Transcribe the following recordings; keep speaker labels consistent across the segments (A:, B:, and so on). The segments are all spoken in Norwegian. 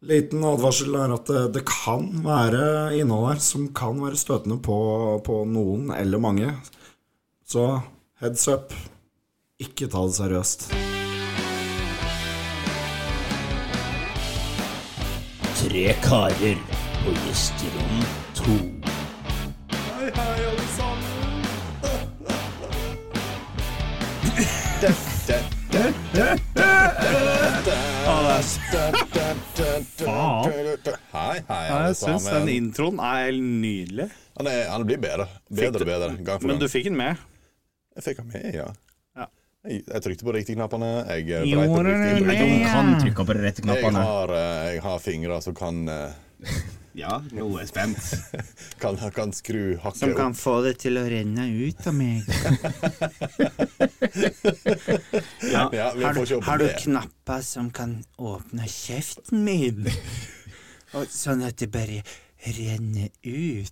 A: Liten advarsel er at eh, det, det kan være innhold her som kan være støtende på, på noen eller mange. Så heads up. Ikke ta det seriøst.
B: Tre karer på gjesterom to.
C: Hei, hei, alle
D: Jeg syns den
C: sammen.
D: introen er nydelig.
C: Han, er, han blir bedre. Bedre og bedre. Gang for
D: Men
C: gang.
D: du fikk den med.
C: Jeg fikk han med, ja.
D: Ja.
C: Jeg, jeg trykte på riktige knappene. Jeg, eh,
D: Jo,
C: breit på
D: det
C: riktige
D: er
B: Jeg
C: brett.
B: kan- kan trykke på de rette
C: jeg,
B: knappene.
C: har, eh, jeg har fingre som kan, eh,
D: Ja, nå er jeg spent.
C: kan, kan skru hakket
D: Som kan
C: opp.
D: få det til å renne ut av meg. ja,
C: Ja, vi
D: har,
C: får
D: du,
C: se på
D: har du
C: det.
D: knapper som kan åpne kjeften min? Og sånn at det bare renner ut?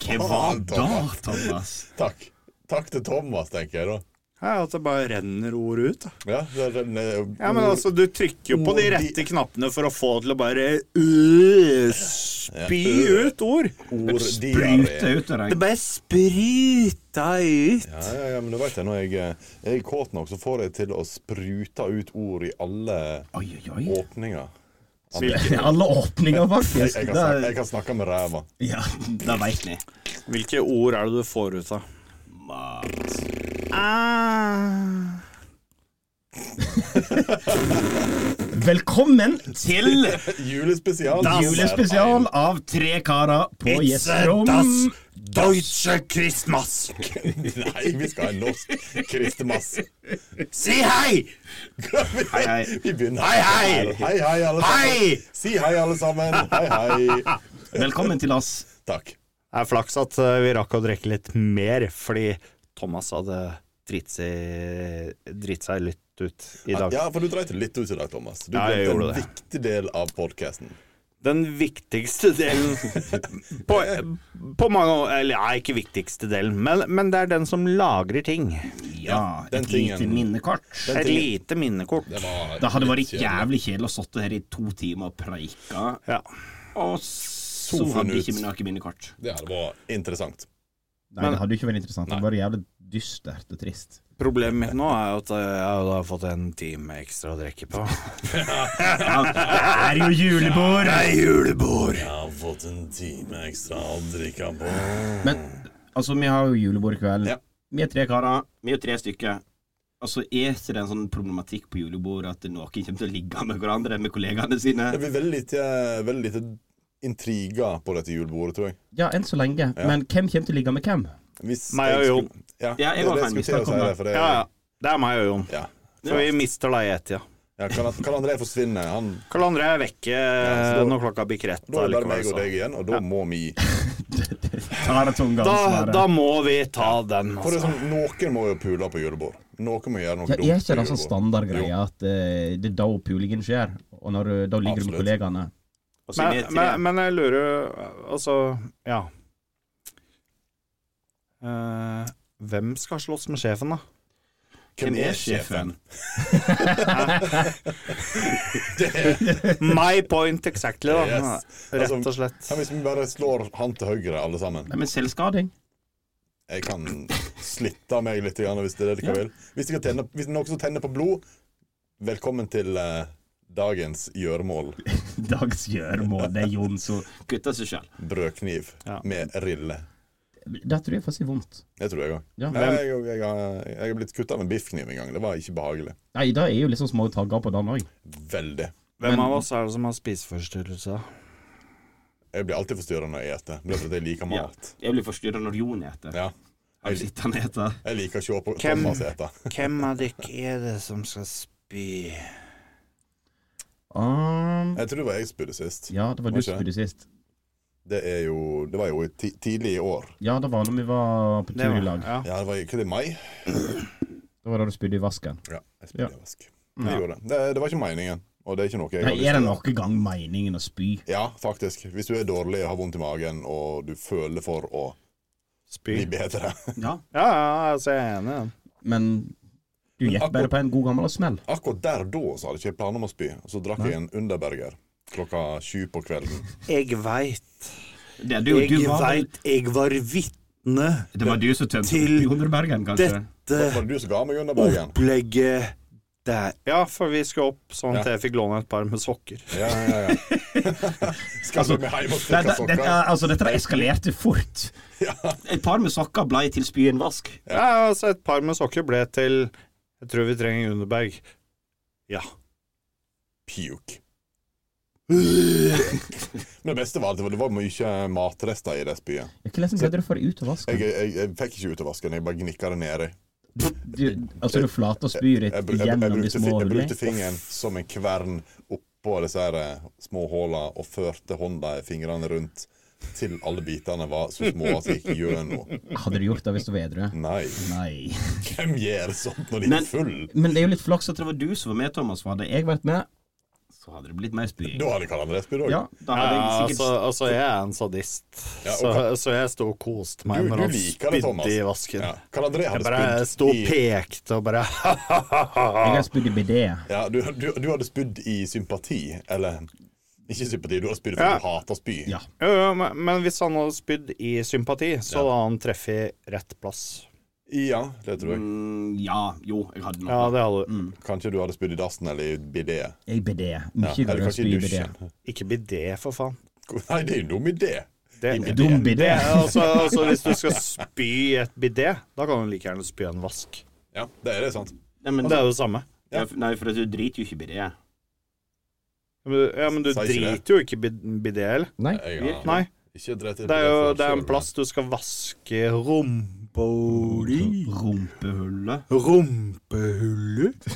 C: Faen, Thomas.
B: Thomas?
C: Takk. Takk til Thomas, tenker jeg da.
D: Ja, At det bare renner ord ut. da.
C: Ja, det er den, eh,
D: Ja, men altså, Du trykker jo på de
C: Ord, de-
D: rette knappene for å få det til å bare øh, spy ut ord.
C: orddiaré.
B: Bryter ut av
D: Det
B: deg.
D: bare spruter ut.
C: Ja, ja, ja, men du vet jeg, når jeg eh, er jeg kåt nok, så får jeg til å sprute ut ord i alle
B: Oi, oi, oi.
C: åpninger.
B: I alle åpninger,
C: Jeg,
B: faktisk.
C: jeg, kan
B: Det
C: snakke,
B: er-
C: jeg kan snakke med ræva.
B: Ja, det veit vi.
D: Hvilke ord er det du får ut av?
B: Mat.
D: Ah.
B: Velkommen til
C: Julespesial.
B: julespesial av Tre karer på gjesterom.
D: das Deutsche Christmas.
C: Nei, vi skal ha en norsk kristemass.
D: Si hei!
C: Hei,
D: hei.
C: Vi begynner
D: Hei, hei.
C: her. Hei, hei, alle sammen.
D: Hei!
C: Si hei, alle sammen. Hei, hei.
B: Velkommen til oss.
C: Takk.
D: Det er flaks at eh, vi rakk å drikke litt mer, fordi Thomas hadde dritt seg, dritt seg litt ut i dag.
C: Ja, for du dreit litt ut i dag, Thomas. Du
D: Ja,
C: glemte
D: jeg gjorde
C: en
D: det.
C: viktig del av podkasten.
D: Den viktigste delen på, på mange år Eller ja, ikke viktigste delen, men, men det er den som lagrer ting.
B: Ja,
C: den
B: et lite
C: tingen.
B: minnekort.
D: Et lite minnekort.
B: Det hadde vært jævlig kjedelig å sitte her i to timer og preike,
D: Ja.
B: og så
C: Sofaen
B: hadde vi
C: ut.
B: ikke noe minnekort.
C: Det hadde vært interessant.
B: Nei, det hadde jo ikke vært interessant. Det var jævlig dystert og trist.
D: Problemet mitt nå er jo at jeg har fått en time ekstra å drikke på.
B: Det er jo julebord!
D: Julebord!
C: Jeg har fått en time ekstra å drikke på.
B: Men altså, vi har jo julebord i kveld.
C: Ja.
B: Vi er tre karer. Vi er tre stykker. Altså, Er ikke det en sånn problematikk på julebord at noen kommer til å ligge med hverandre, med kollegaene sine?
C: Det blir veldig lite, veldig lite intriger på dette julebordet, tror jeg.
B: Ja, enn så lenge. Men hvem kommer til å ligge med hvem?
C: Hvis
D: Meg og
C: jeg
D: Jon.
C: skulle- Ja,
B: Ja, jeg
C: det-
B: var
C: det
B: fan,
C: skulle
B: vi
C: til å
B: snakker om
C: si
B: det.
C: det, for det-
D: Ja, ja. Det er meg og Jon.
C: ja.
D: Så vi mister deg i ett-tida.
C: Ja, kan, kan André forsvinne? Han,
D: Karl André er vekke
C: så da-
D: når klokka blir ett.
C: da er det bare meg
D: allikevel,
C: og deg
D: så.
C: igjen, og da må vi
B: Sånn
D: Da, da må vi ta den.
C: For det er
D: Altså.
C: sånn, Noen må jo pule på julebord. Noen må gjøre noe
B: ja,
C: dumt.
B: er
C: på
B: ikke det sånn
C: julebord.
B: standardgreie at eh, det er da pulingen skjer? Og når, du- da ligger du med
C: Absolutt.
B: kollegaene?
D: Men, men, men jeg lurer Altså, ja. Eh, hvem skal slåss med sjefen, da?
C: Hvem er sjefen?
D: My point exactly, da.
C: Yes.
D: Rett og
C: Altså,
D: slett.
C: Ja, hvis vi bare slår han til høyre, alle sammen
B: Nei, men selvskading?
C: Jeg kan slitte av meg litt grann, hvis det er det dere vil. Hvis, dere tenner, hvis det er noen som tenner på blod, velkommen til eh, dagens gjøremål.
B: Dags gjøremål. Det er Jon som kutter seg sjøl.
C: Brødkniv
D: Ja.
C: med rille.
B: Det tror jeg faktisk er vondt.
C: Det tror jeg òg.
B: Ja.
C: Jeg, jeg, jeg, har- jeg har blitt kutta med en biffkniv en gang. Det var ikke behagelig.
B: Nei, det er jo liksom små tagger på den òg.
C: Veldig.
D: Hvem av oss er det som har spiseforstyrrelse?
C: Jeg blir alltid forstyrra når jeg spiser, bare fordi jeg liker
B: Ja.
C: mat.
B: Jeg blir forstyrra når Jon eter.
C: Ja.
B: Han sitter han eter.
C: Jeg liker å se på
D: Hvem-
C: Thomas ete.
D: Hvem av dere er det som skal spy?
B: Um,
C: Jeg tror det var jeg som spydde sist.
B: ja, det var
C: Var
B: du
C: ikke
B: som
C: det?
B: spydde sist.
C: Det, er jo, det var jo i ti, tidlig i år.
B: Ja, det var når vi var på tur i lag.
D: ja.
C: Ja, det var ikke det i mai.
B: Da var det du spydde i vasken.
C: Ja,
B: Ja.
C: jeg spydde i vask. Jeg gjorde det. det. Det var ikke meningen, og det er ikke noe jeg
B: Nei,
C: har lyst
B: er det
C: til å-
B: noen gang meningen å spy?
C: Ja, faktisk. Hvis du er dårlig, har vondt i magen, og du føler for å
D: Spy.
C: bli bedre.
B: Ja.
D: Ja, ja, altså jeg er enig i den.
B: Men Du gikk bare på en god gammel smell.
C: Akkurat der da så hadde jeg ikke planer om å spy, så drakk jeg en Underberger klokka sju på kvelden.
D: Jeg veit.
B: Det, du, du
D: Jeg
B: var, vel-
D: veit. Jeg var vitne
B: det var du som tømte
D: Til
B: opp i Underbergen, kanskje?
D: dette
C: Var det du som ga meg Underbergen?
D: opplegget der. Ja, for vi skulle opp sånn
C: Ja.
D: at jeg fikk låne et par med sokker.
C: Ja, ja, ja. Skal du med
B: Altså,
C: hjem og
B: Nei, det,
C: strikke
B: dette,
C: sokker?
B: altså, dette eskalerte fort.
C: Ja.
B: Et par med sokker blei til spyenvask.
D: Ja, altså et par med sokker ble til Jeg tror vi trenger Underberg. Ja.
C: Puke. Men det beste var at det var- det var mye matrester i det spyet.
B: Hvordan greide du liksom å få det ut av
C: Jeg,
B: vasken?
C: jeg, jeg fikk ikke ut av vasken, jeg bare gnikka det nedi.
B: Du, altså, du flata spyet
C: Jeg, bru- jeg, jeg,
B: gjennom de
C: brukte,
B: små
C: fi- jeg brukte
B: hullene?
C: fingeren som en kvern oppå disse her eh, små håla og førte hånda i fingrene rundt til alle bitene var så små at de gikk gjennom.
B: Hadde du gjort det hvis du var edru?
C: Nei,
B: Nei.
C: hvem gjør sånt når de
B: Men-
C: er full?
B: Men det er jo litt flaks at det var du som var med, Thomas. Hadde jeg vært med, så hadde det blitt mer spying.
C: Da hadde jeg kalt André spyd òg.
B: Ja, da hadde
D: Ja,
B: jeg
D: altså,
B: sikkert
D: altså, jeg er en sadist,
C: Ja,
D: så,
C: ok.
D: så jeg sto og koste meg
C: Du-
D: når
C: du
D: han
C: liker det, Thomas.
D: spydde i vasken.
C: Ja. Karl André
D: Jeg
C: hadde
D: bare
C: spydd
D: sto og
C: i
D: pekte og bare
B: Jeg har spydd i bidé.
C: ja, du, du, du hadde spydd i sympati, eller ikke sympati, du hadde spydd fordi
D: Ja.
C: du hater spy.
B: Ja.
D: Jo, jo, men, men hvis han hadde spydd i sympati, så hadde han treffet rett plass.
C: ja, det tror jeg.
B: Mm, ja, jo, jeg hadde
D: Ja,
B: nok det.
D: det hadde du.
C: Kanskje du hadde spydd i dassen eller i bidéet.
B: Jeg bidé.
C: Ja,
B: Mye
C: eller
B: går å
C: kanskje
B: spy
C: i
B: i bidé.
C: dusjen.
D: Ikke bidé, for faen.
C: Nei, det er jo en dum idé.
D: Det,
C: I bidé.
B: Dum
D: det
B: bidé.
D: er altså, altså, hvis du skal spy i et bidé, da kan du like gjerne spy i en vask.
C: Ja, det er det, sant.
B: Nei, men,
D: Det er jo det samme.
B: ja, f- nei, for at du driter jo ikke i bidé.
D: Men du- Ja, men du
C: Sa ikke det.
D: driter jo ikke i bid- bidé, eller?
B: Nei.
C: Jeg har
D: Nei,
C: ikke drept i
D: det er jo
C: bidé før
D: det er en
C: selv,
D: plass du skal vaske rumpa di.
B: Rumpehullet.
D: Rumpehullet?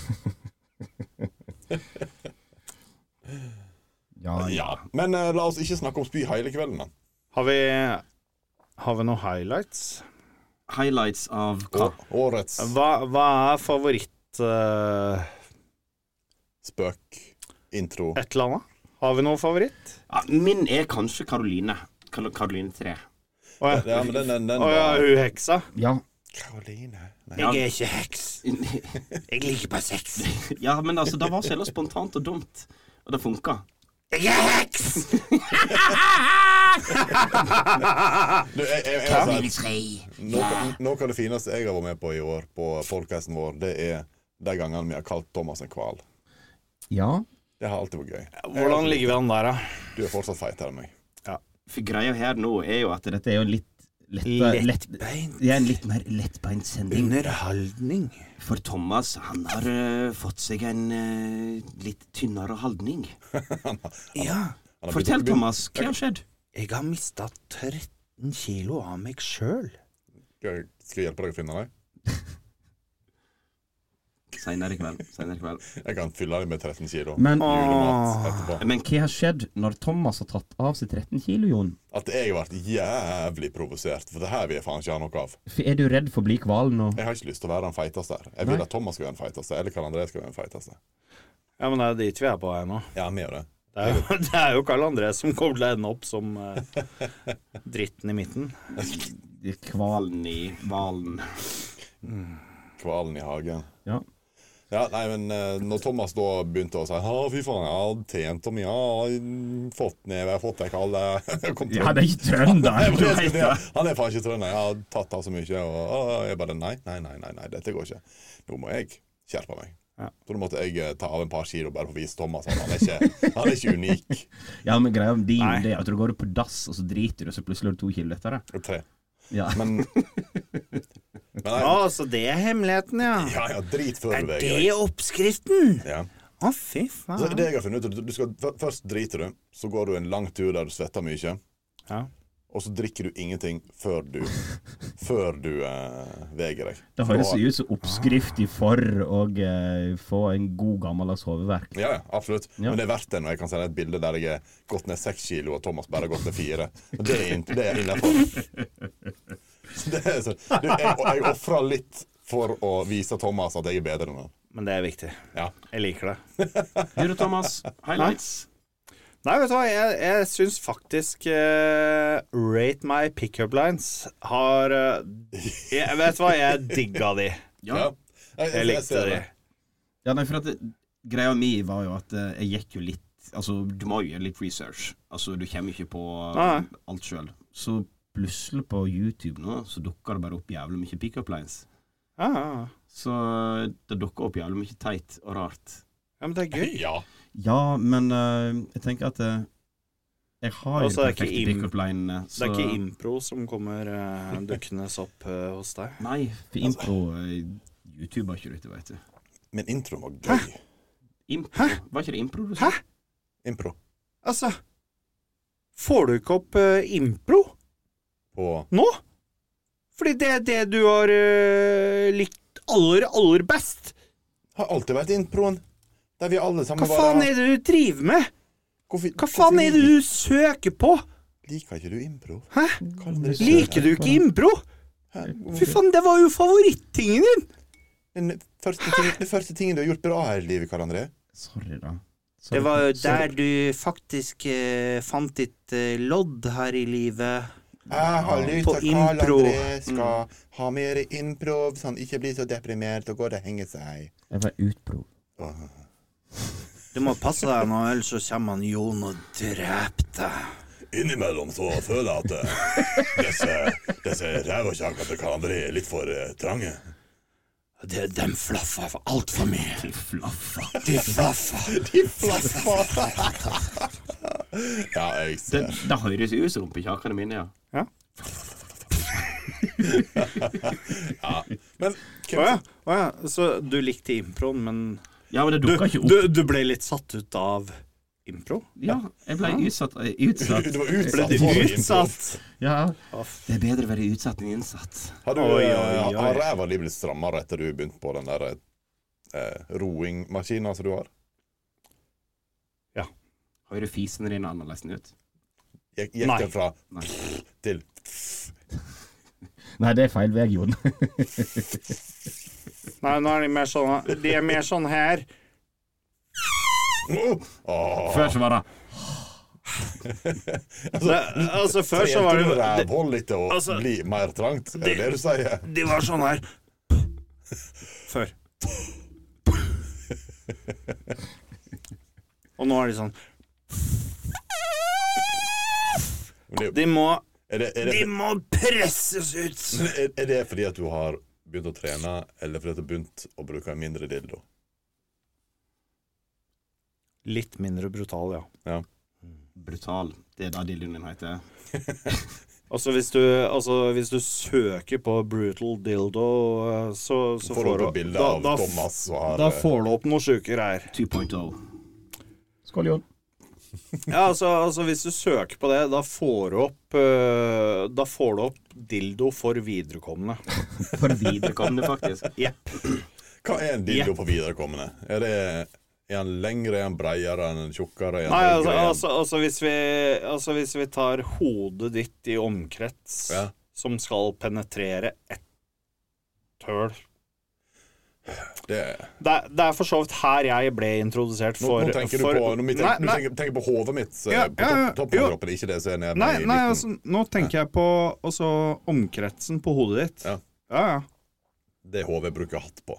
B: Ah, Ja,
C: men- Ja, men eh, la oss ikke snakke om spy hele kvelden, da.
D: Har vi, har vi noen highlights?
B: Highlights av hva?
C: Å- Årets
D: Hva, hva er favoritt eh,
C: spøk, intro
D: et eller annet? Har vi noen favoritt?
B: Ja, min er kanskje Karoline. Kal- Karoline 3.
D: Å ja,
C: Ja, men den, den, den
D: Å ja
C: var
D: hun heksa.
A: Ja.
C: Karoline Nei.
B: Jeg
D: er ikke heks. Jeg liker bare sex.
B: Ja, men altså, det var så jævla spontant og dumt. Og det funka.
D: Jeg er heks!
C: Du, jeg, jeg, altså, jeg, må si at noe, noe av det fineste jeg har vært med på i år på podcasten vår, det er de gangene vi har kalt Thomas en hval.
A: Ja.
C: Det har alltid vært gøy.
D: Hvordan ligger vi an der, da?
C: Du er fortsatt feitere enn meg.
B: For greia her nå er jo at dette er jo litt lett, lett,
D: Lettbeint.
B: Det er en litt mer lettbeint sending.
D: Underholdning.
B: For Thomas, han har eh, fått seg en eh, litt tynnere holdning.
D: Ja,
C: Han har
B: Fortell,
C: begynt-
B: Thomas. Hva har skjedd?
D: jeg har mista 13 kilo av meg sjøl.
C: Skal jeg- skal jeg hjelpe deg å finne deg?
B: Seinere i kveld. Senere i kveld.
C: Jeg kan fylle deg med 13 kilo
A: Men,
C: julemat etterpå.
B: Men hva har skjedd når Thomas har tatt av seg 13 kilo, Jon?
C: At jeg har vært jævlig provosert, for det her vil jeg faen ikke ha noe av.
A: for er du redd for å bli hval nå?
C: Jeg har ikke lyst til å være den feiteste her. Jeg vil at Thomas skal være den feiteste, eller Karl André skal være den feiteste.
D: Ja, men det er dit vi er på vei nå.
C: Ja, vi gjør det.
D: Det er jo, det er jo Karl André som kommer til å ende opp som eh, dritten i midten.
B: Hvalen i hvalen.
C: Kvalen i hagen.
A: Ja.
C: Ja, nei, men eh, når Thomas da begynte å si Å, fy faen, jeg har tjent om, jeg har fått ned, jeg har fått vekk alle Jeg kom til-
A: Ja, det er ikke trønder.
C: Nei, men
A: du
C: jeg
A: vet
C: skulle
A: det.
C: si, Han er faen ikke trønder. Jeg har tatt av så mye. Og å, jeg bare nei, nei, nei, nei, nei, dette går ikke. Nå må jeg skjerpe meg.
D: Ja.
C: Så da måtte jeg eh, ta av en par kilo bare for å vise Thomas at han er ikke, han er ikke unik.
A: Ja, men greia om din
D: Nei.
A: det er at du går på dass, og så driter du, og så plutselig er du to kilo lettere.
C: Tre.
A: Ja.
C: Men, men
D: Å,
C: nei,
D: så det er hemmeligheten, ja.
C: ja, ja, drit før du veger deg.
D: oppskriften?
C: Ja.
D: Å, fy
C: Så
D: faen.
C: det jeg har funnet ut, er at du skal, f- først driter du, så går du en lang tur der du svetter mye.
D: Ja.
C: Og så drikker du ingenting før du Før du eh, veger deg.
A: Det høres jo ut som oppskrift i for å eh, få en god gammeldags hodeverk.
C: Ja, ja, absolutt.
A: Ja.
C: Men det er verdt det når jeg kan sende et bilde der jeg er gått ned seks kilo, og Thomas bare har gått ned fire. Og Det er, inn- det er innafor. Jeg, og jeg ofra litt for å vise Thomas at jeg er bedre enn han.
D: Men det er viktig.
C: Ja.
D: Jeg liker det.
B: Du da, Thomas. Highlights.
D: Nei, vet du hva, jeg, jeg syns faktisk eh, Rate My Pickup Lines har eh, jeg, Vet du hva, jeg digga de.
B: Ja.
C: Ja. Jeg,
D: Jeg likte
C: ser
D: det.
B: Ja, nei, for
A: eh,
B: at det, Greia mi var jo at eh, jeg gikk jo litt Altså, du må jo gjøre litt research. Altså, du kommer jo ikke på eh,
D: Nei.
B: alt sjøl. Så plutselig på YouTube nå, så dukker det bare opp jævlig mye pickup lines.
D: Ja, ja, ja.
B: Så eh, det dukker opp jævlig mye teit og rart.
D: ja, men det er gøy.
C: Ja.
B: Ja, men eh, jeg tenker at eh, jeg har jo de
D: Altså, det er ikke
B: perfekte
D: im-
B: pickup linene.
D: Det er ikke impro som kommer uh, dukkende opp eh, hos deg.
B: Nei, for impro eh, YouTube var ikke det, vet du.
C: Men introen var gøy.
B: Impro? Var ikke det impro du sa?
D: Hæ?
C: Impro
D: Altså Får du ikke opp eh, impro
C: på
D: nå? Fordi det er det du har eh, likt aller, aller best.
C: Har alltid vært introen. Der vi alle sammen
D: Hva faen
C: bare
D: er det du driver med?
C: Hvorfor-
D: Hva faen er det du søker på?
C: Liker ikke du impro?
D: Hæ?
C: Hva er det
D: Liker du ikke impro?
C: Hæ?
D: Fy faen, det var jo favorittingen din!
C: Den første, ting, den første tingen du har gjort bra her i livet, Karl André.
B: Sorry, da. Sorry.
D: Det var jo
B: Sorry.
D: der du faktisk eh, fant ditt eh, lodd her i livet.
C: Jeg har lyst
D: På
C: til at Karl
D: impro. Mm.
C: André skal ha mer impro, så han ikke blir så deprimert og går og henger seg.
B: Jeg var utbro.
C: Åh.
D: Du må passe deg nå, ellers så kommer han Jon og dreper deg.
C: Innimellom så føler jeg at disse, disse rævkjakene til Karl André er litt for eh, trange.
D: De, de flaffa altfor mye.
B: Flaffa.
D: De flaffa.
C: De flaffa! ja, jeg
B: Det,
C: ser.
B: det høres ut som rumpekjakene mine, ja.
C: Men
D: Å
C: hvem,
D: ja. Å ja. Så du likte improen, men
B: Ja, men det dukka ikke opp.
D: du, du ble litt satt ut av impro?
B: Ja, jeg ble utsatt. eh, utsatt.
C: du var
D: Ble
C: utsatt
D: du
C: for impro.
D: utsatt?
B: Ja.
D: Å, f-
B: Det er bedre å være utsatt enn innsatt.
C: Har du,
D: Oi, oi,
C: eh,
D: oi.
C: har ræva di blitt strammere etter du begynte på den der eh, roingmaskina som du har?
B: Hører fisen din annerledes ut?
C: Gikk, gikk
D: Nei.
C: den fra
B: Nei.
C: til
B: Nei, det er feil vei, Jon.
D: Nei, nå er de mer sånn De er mer sånn her.
C: Åh,
B: Før så var det
D: Det, altså, før så var
C: Trente du
D: det
C: rævhullet til å
D: altså,
C: bli mer trangt? Er det
D: det-
C: det du sier?
D: De var sånn her. Før. Og nå er de sånn
C: Men det-
D: De må,
C: Er det, er,
D: de
C: det,
D: må presses ut!
C: er, er det fordi at du har begynt å trene, eller fordi at du har begynt å bruke en mindre dildo?
D: Litt mindre brutal, ja.
B: brutal. Det er det dildoen din heter.
D: Altså hvis, du, altså, hvis du søker på brutal dildo, eh, så,
C: Får
D: så
C: du
D: får
C: opp
D: du
C: bilde
D: da,
C: av
D: da,
C: Thomas som har
D: da
C: eh,
D: får du opp noen sjuke greier.
B: 2.0. Skål, Jon.
D: Ja, altså, altså hvis du søker på det, da får du opp eh, Da får du opp dildo for viderekomne.
B: For viderekomne, faktisk.
D: Jepp.
C: Hva er en dildo på viderekommende? Er det er han lengre, er han breiere, er han tjukkere? Er han
D: Nei, altså,
C: høyere, er han-
D: altså, altså, hvis vi, altså hvis vi tar hodet ditt i omkrets
C: Ja.
D: som skal penetrere ett høl
C: det,
D: det, er- det er for så vidt her jeg ble introdusert
C: nå,
D: for
C: nå tenker du
D: for,
C: på Nå tenker,
D: Nei,
C: nå
D: nei.
C: tenker, tenker på hodet mitt, så,
D: Ja,
C: på
D: ja, ja,
C: topp- toppen
D: jo.
C: av kroppen, ikke det som er nede i
D: Nei,
C: midten.
D: nei altså, nå tenker jeg på også omkretsen på hodet ditt.
C: Ja.
D: ja. ja.
C: Det er hodet jeg bruker hatt på.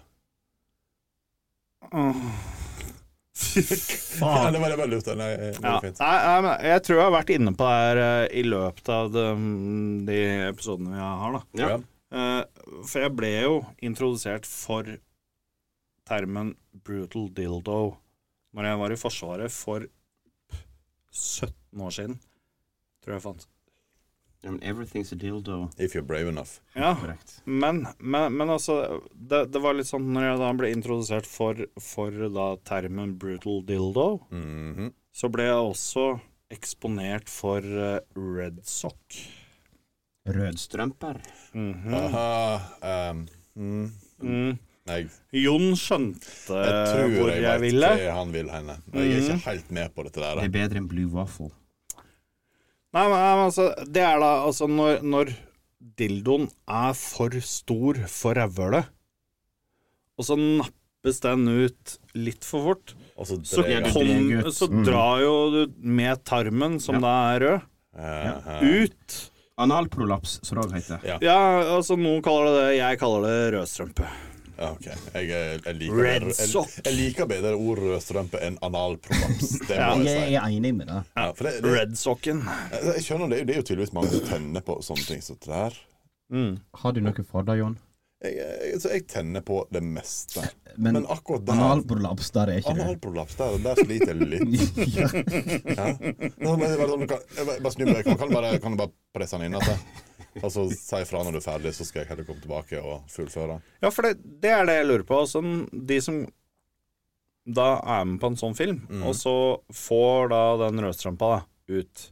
D: Åh. Fy
C: Ja,
D: faen.
C: det var det var lurt. Nei, eh, det var
D: Ja. Nei,
C: fint.
D: nei, men jeg tror jeg har vært inne på det her eh, i løpet av de, de episodene vi har, da.
B: Ja.
C: Ja.
D: Eh, for jeg ble jo introdusert for termen brutal dildo når jeg var i Forsvaret for 17 år siden, tror jeg jeg fant.
B: Ja, men everything's a dildo.
C: If you're brave enough.
D: Ja,
B: Korrekt.
D: Men, men, men altså, det, det var litt sånn når jeg da ble introdusert for, for da termen brutal dildo,
C: Mhm.
D: så ble jeg også eksponert for eh, red sock.
B: Rødstrømper.
D: Mhm,
C: Aha, ehm, mm,
D: Mm.
C: nei,
D: Jon skjønte
C: jeg tror
D: Eh, hvor
C: jeg,
D: jeg,
C: vet
D: ville.
C: hva han vil henne. Jeg er ikke helt med på dette
B: Det
C: der.
B: er bedre enn blue waffle.
D: Nei, men, nei, men altså, det er da altså når, når dildoen er for stor for rævhølet, og så nappes den ut litt for fort,
C: Og så
D: så,
B: ja,
C: dreier
B: du
C: han.
D: kom,
B: drar ut.
D: så
B: Mm.
D: drar jo du med tarmen, som
B: Ja.
D: da er rød,
C: Aha.
D: ut.
B: Analprolaps, som det òg heter.
C: Ja.
D: Ja, altså noen kaller det det, jeg kaller det rødstrømpe.
C: Ja, ok. Jeg, eh, jeg, jeg, liker,
D: Red
C: bedre, jeg,
D: sock.
C: jeg liker bedre ord rødstrømpe enn analprolaps. Det må
E: Jeg,
C: jeg si.
E: jeg er enig med deg.
C: Ja, for det, det,
D: Redsocken.
C: jeg, jeg skjønner det, det er jo tydeligvis mange som tenner på sånne ting som det her.
D: Mm.
E: Har du noe for det, Jon?
C: Jeg, eh, jeg, så jeg tenner på det meste.
E: Men,
C: Men akkurat der
E: analprolaps, der er ikke det.
C: Analprolaps, der, der sliter jeg litt.
E: ja.
C: Ja. Nå, men det er bare sånn, du kan- jeg bare- bare snu på deg. Kan du bare, kan du bare presse den inn? Altså. Og så si ifra når du er ferdig, så skal jeg heller komme tilbake og fullføre.
D: Ja, for det, det er det jeg lurer på. Altså, de som da er med på en sånn film,
C: Mm.
D: og så får da den rødstrømpa da, ut,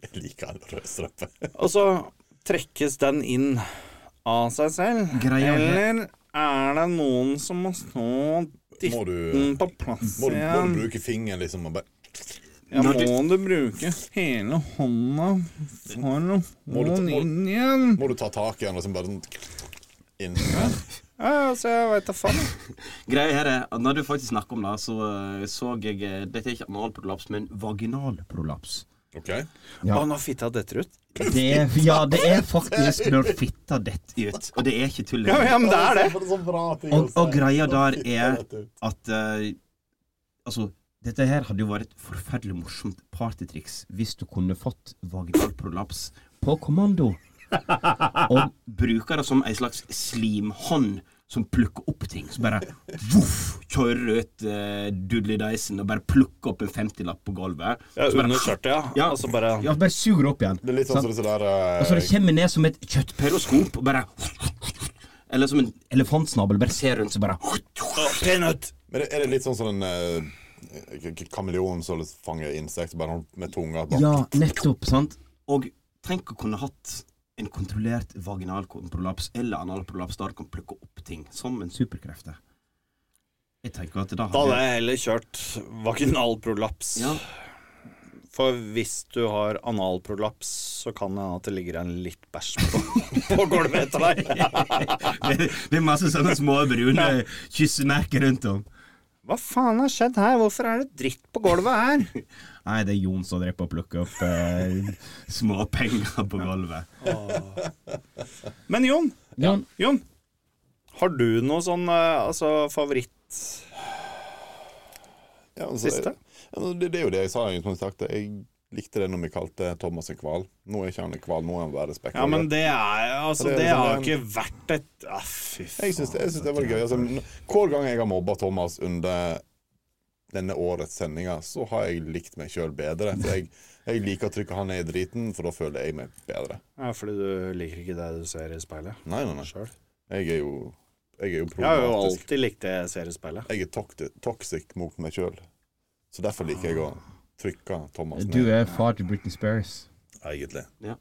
C: Jeg liker all rødstrømpe.
D: og så trekkes den inn av seg selv,
E: Greia er-
D: eller er det noen som må stå og
C: Må
D: dytte
C: du,
D: den på plass
C: må, du, må du
D: igjen?
C: bruke fingeren liksom og bare
D: Ja, må du bruke hele hånda for å
C: Må
D: få
C: du ta-
D: den
C: må-
D: inn igjen?
C: Må du ta tak i den og så bare sånn inn?
D: Ja, altså, jeg veit da faen.
B: Greia her er at når du faktisk snakker om det, så eh, så jeg eh, Dette er ikke analprolaps, men vaginalprolaps.
C: OK?
E: Ja.
D: Å, nå fitta detter ut.
E: Det er, ja, det er faktisk når fitta detter.
B: Ut. Og det er ikke tull.
D: Ja, ja, men det er det.
C: er så bra ting
B: Og, og greia der er at eh, Altså, dette her hadde jo vært et forferdelig morsomt partytriks hvis du kunne fått vaginal prolaps
E: På kommando.
B: og bruker det som ei slags slimhånd som plukker opp ting. Så bare voff, kjører ut uh, dudley-deisen og bare plukker opp en 50-lapp på gulvet.
D: Ja,
B: Så bare-
D: under skjørtet, ja.
B: Ja.
D: Og så bare
E: Ja, bare suger det opp igjen.
C: Det er litt sånn som disse der eh,
E: Og så det kommer ned som et
B: Periskop og bare Eller som en
E: kjøtteelefantsnabel. Bare
B: ser rundt, så bare
D: Peanøtt!
C: Men er det litt sånn som en eh, k- kameleon som fanger insekt bare med tunga? Bare.
E: Ja, nettopp, sant?
B: Og tenk å kunne hatt en kontrollert vaginal prolaps eller anal prolaps der du kan plukke opp ting som en superkrefter. Jeg tenker at da
D: Da hadde
B: hadde
D: jeg heller kjørt vaginalprolaps.
B: Ja.
D: For hvis du har analprolaps, så kan det hende at det ligger en litt bæsj på, på gulvet etter deg.
B: det, det er masse sånne små brune kyssemerker rundt om.
D: Hva faen har skjedd her? Hvorfor er det dritt på gulvet her?
B: Nei, det er Jon som driver og plukker opp eh, småpenger på gulvet.
D: Men Jon,
E: Jon,
D: Jon har du noe sånn eh, altså, favoritt
C: Ja, altså,
D: Siste?
C: Ja, men det, det er jo det jeg sa. Jeg, som sagt, jeg likte det når vi kalte Thomas en hval. Nå er ikke han en hval, nå er han bare spekk.
D: Ja, men det er altså,
C: Det er
D: det
C: liksom
D: har
C: en-
D: ikke vært et ah, Fy
C: Jeg syns det, jeg
D: faen.
C: synes det var gøy. Altså, n- hver gang jeg har mobba Thomas under denne årets sendinger, så har jeg likt meg sjøl bedre. For jeg, jeg liker å trykke han ned i driten, for da føler jeg meg bedre.
D: Ja, fordi du liker ikke det du ser i speilet
C: Nei, nei, nei.
D: sjøl?
C: Jeg er jo, jeg er jo
D: Jeg har jo
C: problematisk.
D: alltid likt det jeg ser i speilet.
C: Jeg er tokti- toxic mot meg sjøl. Så derfor liker jeg å trykke Thomas
E: du
C: ned.
E: er far til Britney Spears.
C: Egentlig.
B: Ja.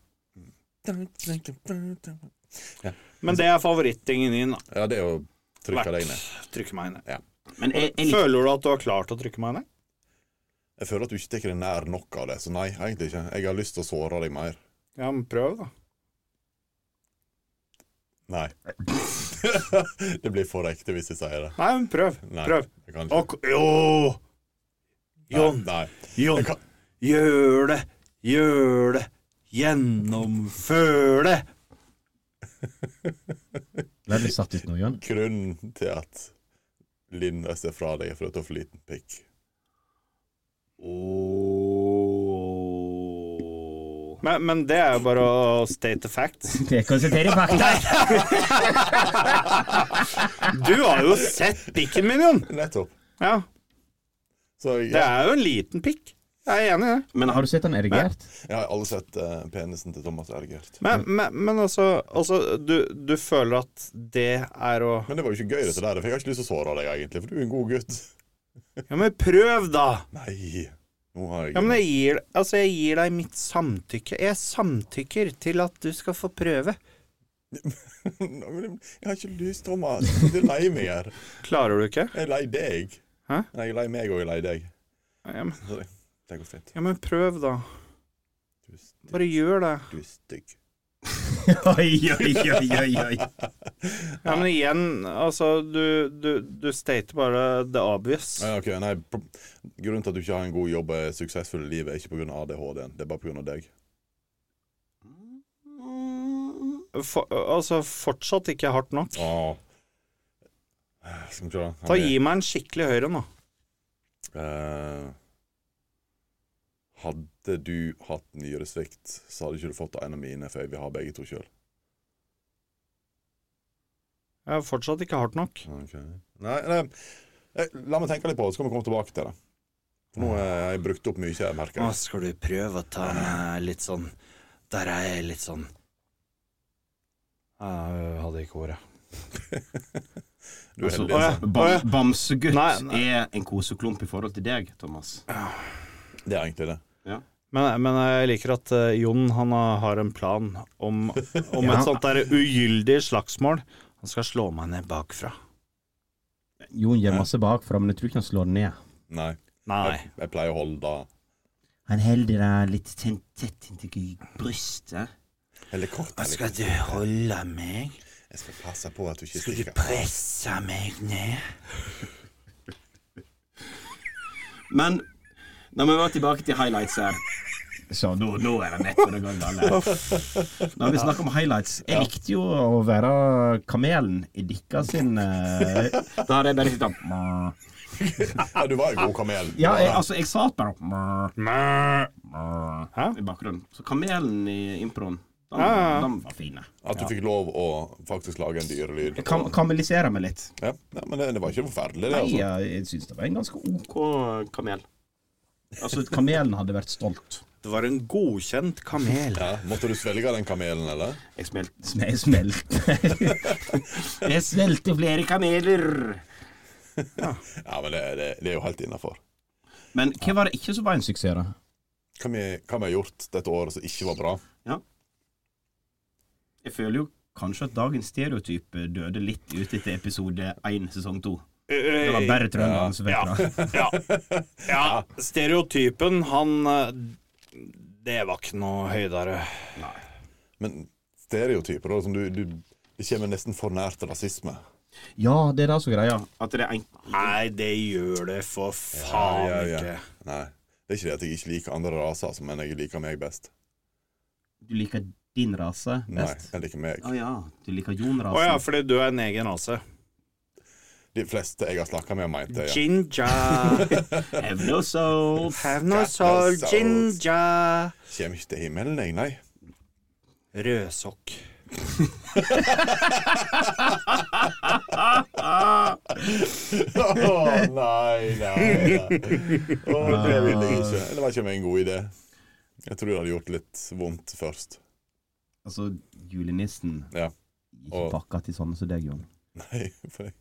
D: Men det er favorittingen din. da.
C: Ja, det er å trykke deg ned.
D: Trykke meg ned.
B: Men jeg, jeg liker
D: Føler du at du har klart å trykke meg ned?
C: Jeg føler at du ikke tar deg nær nok av det, så nei, egentlig ikke. Jeg har lyst til å såre deg mer.
D: Ja, men prøv, da.
C: Nei. det blir for ekte hvis jeg sier det.
D: Nei, men prøv.
C: Nei,
D: Prøv.
C: Jeg kan ikke.
D: Og, jo! Jon,
C: Nei, nei.
D: Jon.
C: Jeg kan,
D: Gjør det, gjør det, gjennomfør det.
E: Ble du satt ut nå, Jon?
C: grunnen til at Linn ser fra deg, er for at du har for liten pikk.
B: Åh.
D: Men, men det er jo bare å state the facts.
E: Det konstaterer fakta.
D: Du har jo sett pikken min, Jon.
C: Nettopp.
D: Ja,
C: Så jeg,
D: det er jo en liten pikk. Jeg er enig i det.
B: Men
E: Har du sett han erigert?
C: jeg har alle sett eh, penisen til Thomas ergert.
D: Men, men, men altså, altså du, du føler at det er å
C: Men det var jo ikke gøy, dette der, for jeg har ikke lyst til å såre deg, egentlig, for du er en god gutt.
D: Ja, men prøv, da!
C: Nei. Nå har jeg
D: Ja, men jeg gir, altså jeg gir deg mitt samtykke. Jeg samtykker til at du skal få prøve.
C: Nå, men Jeg har ikke lyst, Thomas. Du er lei meg her.
D: Klarer du ikke?
C: Jeg er lei deg.
D: Hæ?
C: Nei, jeg er lei meg, og jeg er lei deg.
D: Ja, men,
C: Det går fint.
D: ja, men prøv, da.
C: Du er stygg.
D: Bare gjør det.
C: Du er stygg.
B: Oi, oi, oi, oi, oi.
D: Ja, men igjen, altså Du, du, du stater bare the obvious.
C: Nei, ok, nei, pro- Grunnen til at du ikke har en god jobb og er suksessfull i livet, er ikke pga. ADHD-en. Det er bare pga. deg.
D: For, altså fortsatt ikke hardt nok.
C: Åh. Eh, Skal vi se kan
D: Ta
C: vi-
D: Gi meg en skikkelig høyre, nå.
C: Eh, Hadde du hatt nyresvikt, så hadde ikke du fått en av mine, for jeg vil ha begge to sjøl.
D: Jeg er fortsatt ikke hardt nok.
C: Nei, nei, eh, la meg tenke litt på det, så kan vi komme tilbake til det. For nå eh, har jeg brukt opp mye, jeg merker
D: Nå
C: jeg.
D: skal du prøve å ta meg litt sånn Der er jeg litt sånn Jeg hadde ikke ordet.
C: Du er
B: Altså,
C: heldig. Altså.
D: Å, ja.
B: Ba
D: Å, ja.
B: Bamsegutt
D: Nei, nei.
B: er en koseklump i forhold til deg, Thomas.
C: Det er egentlig det.
D: Men, men jeg liker at eh, Jon han har- har en plan om, om
E: Ja.
D: et sånt der ugyldig slagsmål. Han skal slå meg ned bakfra.
E: Jon gjør masse bakfra, men jeg tror ikke han slår den ned.
C: Nei.
D: Nei.
C: Jeg, jeg pleier å holde da
E: Han holder deg litt ten- tett inntil brystet.
C: Eller kort. Eller.
D: Skal du holde meg?
C: Jeg skal passe på at du ikke
D: Skal du
C: stikker.
D: presse meg ned?
B: Men når vi var tilbake til highlights her
E: Så
B: Nå, nå er det nett på det går galt.
E: Når vi snakker om highlights Jeg likte jo å være kamelen i dikka sin eh,
B: Da hadde jeg bare sittet opp.
C: Ja, du var en god kamel.
E: Ja, jeg, altså, jeg satt bare opp
D: Hæ?
B: i bakgrunnen. Så kamelen i improen, den,
D: Ja, ja.
B: den var fine.
C: At du fikk lov å faktisk lage en dyrelyd.
E: Kam Kamelisere meg litt.
C: Ja, ja, men det, det var ikke forferdelig, det.
E: Nei,
C: altså.
E: jeg, jeg syns det var en ganske OK
B: Og kamel.
E: Altså, kamelen hadde vært stolt.
D: Det var en godkjent kamel.
C: Ja, måtte du svelge den kamelen, eller?
B: Jeg smelte.
E: Sm- Jeg smelte. jeg smelte flere kameler.
C: Ja, men det, det, det er jo helt innafor.
E: Men hva var det ikke som var en suksess, da?
C: Hva vi hva vi har gjort dette året som ikke var bra?
B: Jeg føler jo kanskje at dagens stereotype døde litt ut etter episode 1 sesong 2.
C: Eh,
B: Det var bare trønderne som fikk det.
D: Ja. ja. Stereotypen, han eh, Det var ikke noe høydere.
C: Men stereotyper, da, som du, du Det kommer nesten for nært rasisme.
E: Ja, det er det som er greia.
B: At det er en
D: Nei, det gjør det for faen
C: Ja, ja, ja.
D: ikke.
C: Nei. Det er ikke det at jeg ikke liker andre raser, altså, men jeg liker meg best.
E: Du liker din rase
C: Nei,
E: best?
C: jeg liker meg.
E: Å ja. Du liker Jon-rasen?
D: Å ja, fordi du er en egen rase.
C: De fleste jeg har snakka med, mente det.
D: Ginger.
E: Have no soul.
D: Have no
C: Got no
D: soul,
C: soul.
D: ginger.
C: Ja. Kommer ikke til himmelen, jeg, nei.
D: Rødsokk.
C: Å nei, nei, nei. Å, det vil jeg ikke. Det var ikke meg en god idé. Jeg tror det hadde gjort litt vondt først.
E: Altså, julenissen
C: Ja.
E: Ikke
C: Og-
E: pakka til sånne som deg, Jon.
C: Nei, for jeg,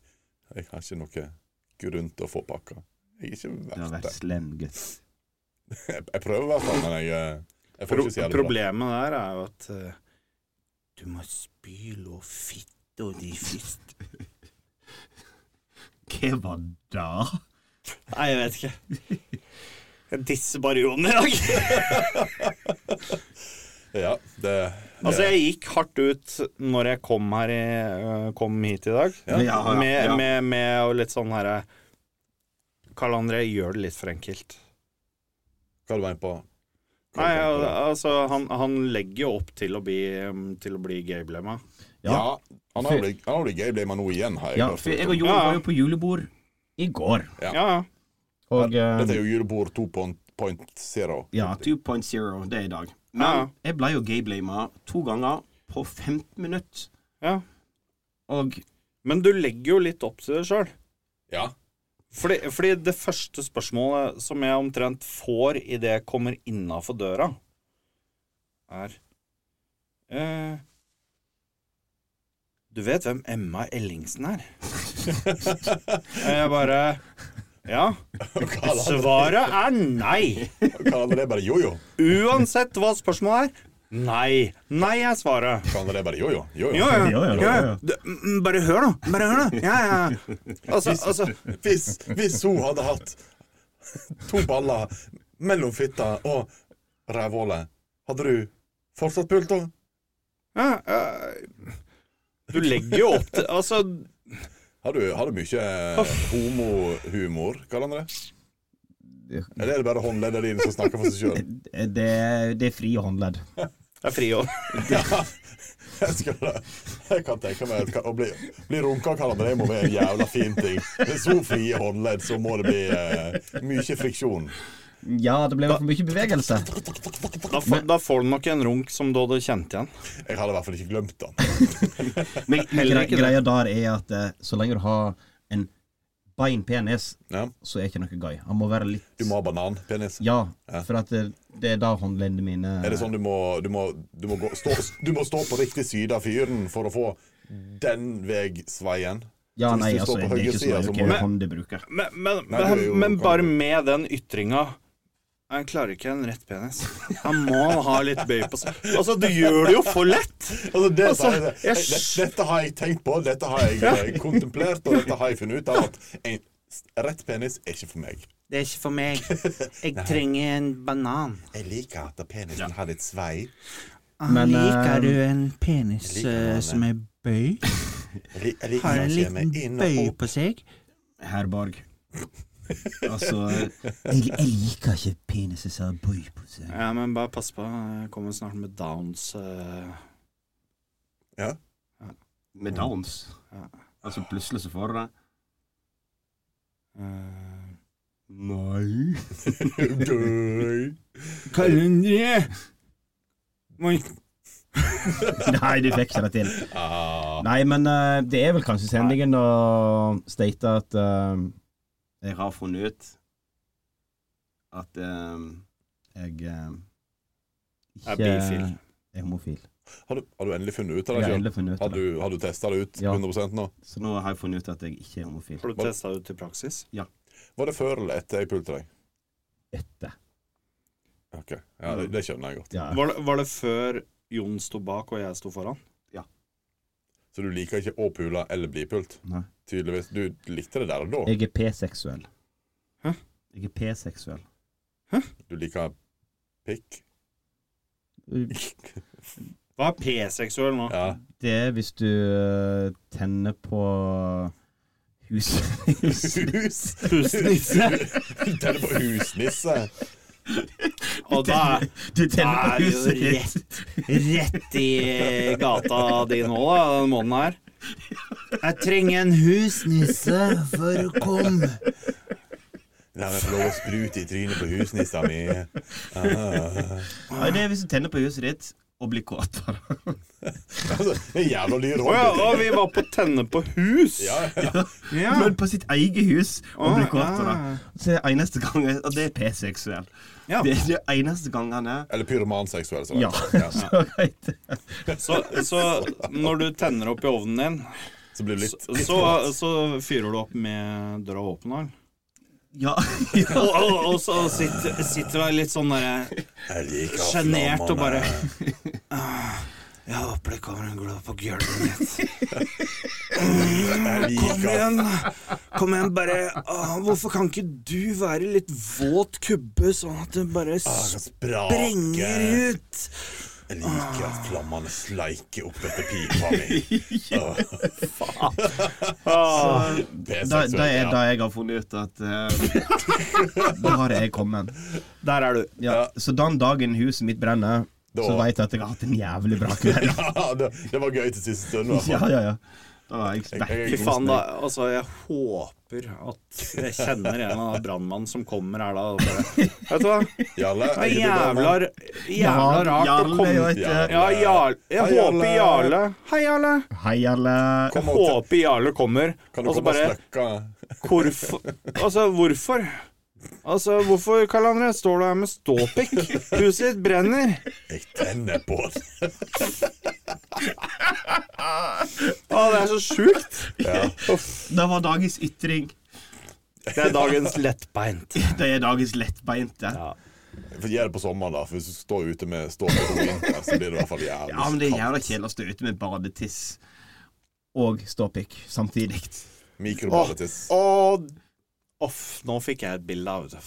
C: jeg har ikke noe grunn til å få pakka. Jeg er ikke
E: Du har
C: verdt
E: vært
C: det.
E: slem gutt.
C: Jeg, jeg prøver å være sånn, men jeg, eh, jeg får
D: Pro
C: ikke si det bra.
D: problemet der er jo at eh, Du må spyle og fitte og de først.
E: Hva var det?
D: Nei, jeg vet ikke. Jeg disser bare Jon i dag.
C: Ja, det,
D: Altså, jeg gikk hardt ut når jeg kom, her i, øh, kom hit i dag.
E: Ja, ja, ja.
D: Med,
B: ja.
D: med, med og litt sånn herre Karl André gjør det litt for enkelt.
C: Hva du mener på? Hva
D: Nei,
C: du mener på det?
D: altså, han, han legger jo opp til å bli, øhm, til å bli gay-blemma.
E: Ja.
C: Ja, han har jo blitt- han har jo blitt gay, ble man nå igjen, har jeg
E: Ja,
C: hørt.
E: for jeg og Jon
D: Ja, ja.
E: var jo på julebord i går.
C: Ja.
D: Ja, ja.
E: Og
C: Dette
E: eh,
C: er jo julebord 2.0.
E: ja,
B: 2.0, det er i dag.
D: Ja,
B: Men jeg ble jo gayblamet to ganger på 15 minutter.
D: ja.
E: og
D: Men du legger jo litt opp til det sjøl.
C: Ja.
D: Fordi, fordi det første spørsmålet som jeg omtrent får idet jeg kommer innafor døra, er eh, Du vet hvem Emma Ellingsen er? Og jeg bare Ja. Svaret er nei.
C: Kan han det bare jojo?
D: Uansett hva spørsmålet er. Nei. Nei er svaret.
C: Kan han det bare jojo? Jojo.
D: Jo, ja.
E: Ja, ja, ja, ja.
D: Du, mm, Bare hør, da. Bare hør, da. Ja, ja. Altså, altså
C: Hvis, hvis hun hadde hatt to baller mellom fitta og rævhålet, hadde du fortsatt pult henne?
D: ja, eh, Du legger jo opp til Altså
C: Har du, har du mye eh, homohumor, kaller han det? Eller er det bare håndleddene dine som snakker for seg sjøl?
E: det, det er frie håndledd.
D: Det er fri òg.
C: Jeg, skulle, jeg kan tenke meg at å bli, bli runka av Canadre må være en jævla fin ting. Med så frie håndledd så må det bli eh, mye friksjon.
B: Ja, det ble for mye bevegelse.
D: Da, får- da får du nok en runk som du hadde kjent igjen.
C: Jeg hadde i hvert fall ikke glemt den.
F: Men heller
B: Gre
F: ikke det.
B: greia der er at eh, så lenge du har en bein penis,
C: Ja.
B: så er ikke noe gøy. Han må være litt
C: Du må ha bananpenis.
B: Ja,
C: Ja.
B: for at det, det er da håndleddene mine
C: Er det sånn du må, du må, du må, gå, stå, du må stå på riktig side av fyren for å få den veg sveien?
B: Ja,
C: så hvis
B: nei,
C: du står
B: altså,
C: på
B: det er
C: høyre
B: ikke så
C: side,
B: nøye
C: så må
B: hvilken
D: du-
B: hånd du bruker.
D: Men, men,
C: Nei, det er jo-
D: men, men bare med den ytringa Jeg klarer ikke en rett penis. Han må ha litt bøy på seg. Altså, du gjør det jo for lett!
C: Altså, det,
D: Altså,
C: sier jeg,
D: jeg
C: det, dette har jeg tenkt på, dette har jeg eh, kontemplert, og dette har jeg funnet ut av at en rett penis er ikke for meg.
D: Det er ikke for meg. Jeg trenger en banan. Ah,
C: Jeg liker at penisen har litt svei.
B: Men, eh,
D: en penis eh,
C: Jeg liker den.
D: er bøy?
C: Jeg lik- jeg liker når jeg kommer inn og opp.
D: på seg?
B: Herborg. Altså jeg, jeg liker ikke peniser som har bøy på seg.
D: Ja, men bare pass på. Jeg kommer snart med downs. eh.
F: Med downs.
D: Ja.
F: Altså plutselig så får du det.
D: Eh,
F: Nei.
C: Gøy.
D: Kalendere! Må
B: Nei, du fikk ikke det til.
C: Ah.
B: Nei, men eh, det er vel kanskje sendingen å state at eh,
F: Jeg har funnet ut at ehm,
B: jeg eh, ikke
D: Er bifil.
B: er homofil.
C: Har, du, har du endelig funnet ut av
B: Jeg
C: det
B: har
C: sjøl?
B: endelig funnet ut
C: Har
B: av det.
C: du, har du testa det ut
B: Ja.
C: 100 nå?
F: Så nå har jeg funnet ut at jeg ikke er homofil.
D: Har du testa ut i praksis?
C: Var det før eller etter jeg pulte deg?
B: Etter.
C: Ok, ja, det, det skjønner jeg godt.
B: Ja.
D: Var det, var det før Jon sto bak og jeg sto foran?
C: Så du liker ikke å pule eller bli pult?
B: Nei.
C: Tydeligvis. Du likte det der og da.
B: Jeg er p-seksuell.
D: Hæ?
B: Jeg er p-seksuell.
C: Du liker pikk.
D: Hva er p-seksuell nå?
C: Ja.
B: Det er hvis du eh, tenner på hus... hus.
C: Hus!
D: Husnisse.
C: Tenner på husnisse.
D: Og da er
B: Du tenner
D: Da er
B: på
D: det jo
B: huset ditt.
D: rett i gata di nå, da, den måneden her. Jeg trenger en husnisse for å komme.
C: La meg få lov å sprute i trynet på husnissa mi.
B: Ja, det er hvis du tenner på huset ditt og blir kåt. bare.
C: Altså, det er jævla dyr
D: Å ja,
C: hobby.
D: og vi var på tenne på hus.
C: Ja, ja.
D: Ja.
B: Men på sitt eget hus og blir
D: Å,
B: kåt. av det.
D: ja.
B: Så det er eneste gang Og det er p-seksuell.
D: Ja.
B: Det er det eneste gang han er
C: Eller pyromanseksuell, som
B: Ja,
C: det heter.
B: så greit.
D: Så, så når du tenner opp i ovnen din,
C: Ja. Så blir det litt, litt
D: så, så fyrer du opp med dråpen.
B: Ja. ja.
D: Og, og, og så sitter, sitter du litt sånn derre
C: Jeg liker
D: sjenert og bare
C: flammene.
D: Jeg håper det kommer en glød på gulvet mitt.
C: Jeg
D: Kom
C: liker
D: igjen, kom igjen, bare Åh, Hvorfor kan ikke du være litt våt kubbe, sånn at det bare
C: at
D: sprenger
C: sprake.
D: ut?
C: Jeg liker at flammene sleiker opp etter pipa mi.
D: Ah.
B: Da, da er da jeg har funnet ut at eh, Da har jeg kommet.
D: Der er du.
B: Ja. Så den dagen huset mitt brenner,
C: Da-
B: så veit jeg at jeg har hatt en jævlig bra kveld.
C: Ja, det, det var gøy til siste stund. i hvert
B: Ja,
C: fall.
B: ja, ja. Da var jeg
C: Jeg- jeg
B: spekk.
C: er
D: Fy
C: god
D: faen, da.
C: snik.
D: Altså, jeg håper at jeg kjenner en av brannmannen som kommer her da. og Bare, vet du hva?
C: Jarle, er
D: Det er
C: ikke du
D: jævla,
C: gammel?
D: jævla rart
B: Jarle,
D: å
B: jeg
D: komme
B: vet det.
D: Ja, Jarle.
C: Hei,
D: Jeg
C: Jarle.
D: håper Jarle Hei, Jarle.
B: Hei, alle.
D: Jeg
C: Kom og-
D: håper Jarle kommer.
C: Kan du
D: Og så
C: komme og
D: bare
C: snakke?
D: Hvorfor? Altså, hvorfor? Altså, hvorfor, Karl André, står du her med ståpikk? Huset ditt brenner.
C: Jeg tenner på det.
D: Å, det er så sjukt.
B: Det var dagens ytring.
D: Det er dagens lettbeint.
B: Det er dagens lettbeinte.
D: Ja.
C: For Gjør det på sommeren, da. For hvis du står ute med ståpikk om vinteren, så blir det i hvert fall jævlig
B: Ja, men det er jævla
C: kaldt.
B: kjedelig å stå ute med badetiss og ståpikk samtidig.
C: Mikrobatiss.
D: Og Off, nå fikk jeg et bilde av det.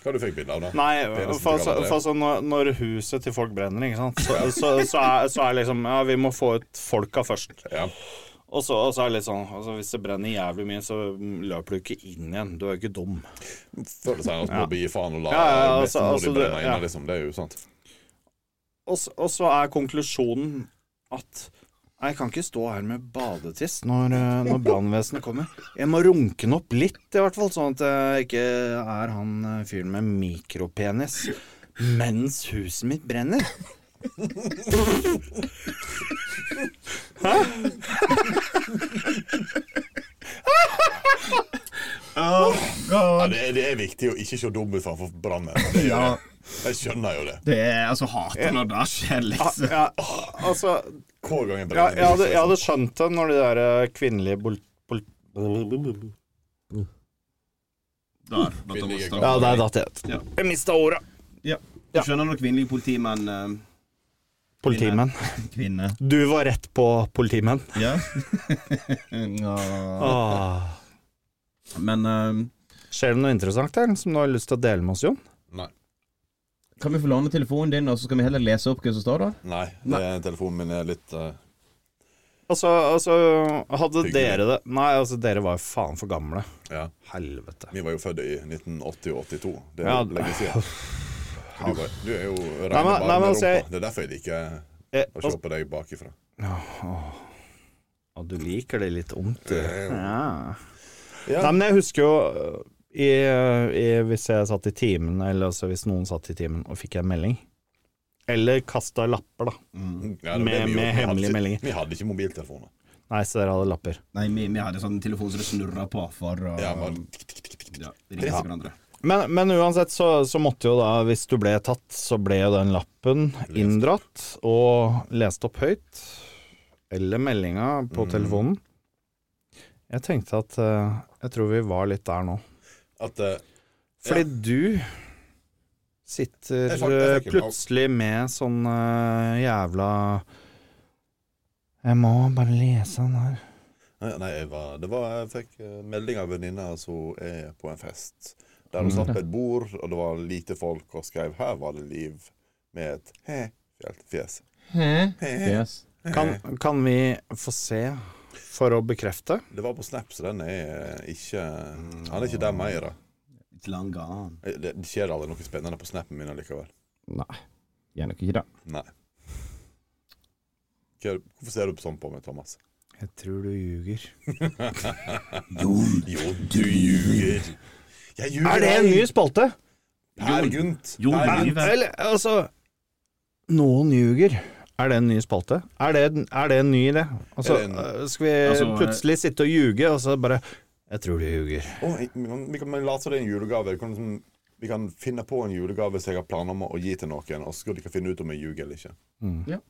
C: Hva du fikk bilde av, da?
D: Nei,
C: Det er nesten ikke
D: for, altså-
C: Karl André.
D: for altså, når, når huset til folk brenner, ikke sant, så, så, så, er, så er liksom Ja, vi må få ut folka først.
C: Ja.
D: Og så, og så er det litt sånn altså, Hvis det brenner jævlig mye, så løper du ikke inn igjen. Du er jo ikke dum.
C: Før eller senere så må
D: Ja.
C: du gi faen og la
D: Ja, ja, ja,
C: mest
D: altså-
C: mulig
D: altså, du-
C: brenne inne,
D: ja.
C: liksom. Det er jo sant.
D: Og, s- og så er konklusjonen at Nei, jeg kan ikke stå her med badetiss når, eh, når brannvesenet kommer. Jeg må runke den opp litt, i hvert fall, sånn at jeg ikke er han eh, fyren med mikropenis mens huset mitt brenner.
C: Ja, det, er, det er viktig å ikke se dum ut framfor brannen. Det er-
E: Ja.
C: Jeg skjønner jo det.
E: Det er altså hater når det skjer, liksom.
D: Ja, altså
C: Hver gang jeg
D: ja,
C: brenner
D: jeg, hadde, jeg hadde skjønt det når de der eh, kvinnelige bol... bol
E: Der, da tar vi
C: Ja,
E: start.
D: der datt jeg ut.
E: Ja.
D: Jeg mista ordet.
E: Ja. Du skjønner når kvinnelige politimenn eh,
D: Politimenn.
E: Kvinne.
D: Du var rett på politimenn.
E: Ja. ja. Men eh,
D: Ah. Skjer det noe interessant der som du har lyst til å dele med oss, Jon?
C: sånn, Nei.
E: kan vi få låne telefonen din, og så skal vi heller lese opp hva som står der?
C: Nei, det er, telefonen min er litt eh,
D: Altså, altså hadde
C: Hyggelig.
D: dere det Nei, altså, dere var jo faen for gamle.
C: Ja.
D: Helvete.
C: Vi var jo født i 1980 og 82. Det er
D: Ja.
C: lenge siden. Du, var, du er jo reine
D: Nei, men-
C: bare
D: nei, men
C: med
D: altså, jeg-
C: rumpa. Det er derfor jeg liker
D: Eh,
C: å se på deg bakifra.
D: og du liker det litt ondt, du. altså- Ja.
C: Ja.
D: Nei, men jeg husker jo øh, i, i, Hvis jeg satt i timen, eller altså hvis noen satt i timen og fikk en melding Eller kasta lapper, da.
C: Ja, det var det vi gjorde.
D: Med- med
C: Vi hadde
D: hemmelige
C: ikke-
D: meldinger.
C: Vi hadde ikke mobiltelefoner.
D: Nei, så dere hadde lapper.
E: Nei, vi, vi hadde sånn telefon som det snurra på for å
C: Ja,
E: ja,
C: bare,
E: ringe til hverandre.
D: Men, men uansett så, så måtte jo da, hvis du ble tatt, så ble jo den lappen inndratt og lest opp høyt. Eller meldinga på
C: Mm.
D: telefonen. Jeg tenkte at eh, jeg tror vi var litt der nå.
C: at eh,
D: Fordi du sitter
C: Jeg fikk- jeg fikk
D: eh,
C: en mail.
D: plutselig med sånn eh, jævla Jeg må bare lese den her.
C: Nei, nei jeg, var, det var, jeg fikk eh, melding av venninna som er på en fest. Der
D: Mm.
C: hun satt på et bord, og det var lite folk, og skrev 'Her var det liv' med et he-fjes.
E: Yes.
D: Kan, kan vi få se for å bekrefte?
C: Det var på Snap, så den er ikke Han er ikke der mer. da.
E: It's long gone.
C: Eh, Det, det skjer aldri noe spennende på snappen min allikevel.
E: Nei, gjør nok ikke det.
C: Nei. Hva, hvorfor ser du sånn på meg, Thomas?
D: Jeg tror du ljuger.
C: Jo, du ljuger. Jeg ljuger.
D: Er det en ny spalte?
C: Per Gynt.
E: Jon
C: Per Gynt.
E: lyver.
D: Eller, altså Noen ljuger. Er det en ny spalte? Er det, en- er det en ny idé? Altså,
C: Er det en- eh,
D: øh, skal vi
E: Altså,
D: plutselig sitte og ljuge, og så bare Jeg tror du ljuger.
C: Å, jeg- vi kan- vi kan men late som det er en julegave. Vi kan, liksom, vi kan finne på en julegave som jeg har planer om å gi til noen, og så skal dere finne ut om jeg ljuger eller ikke.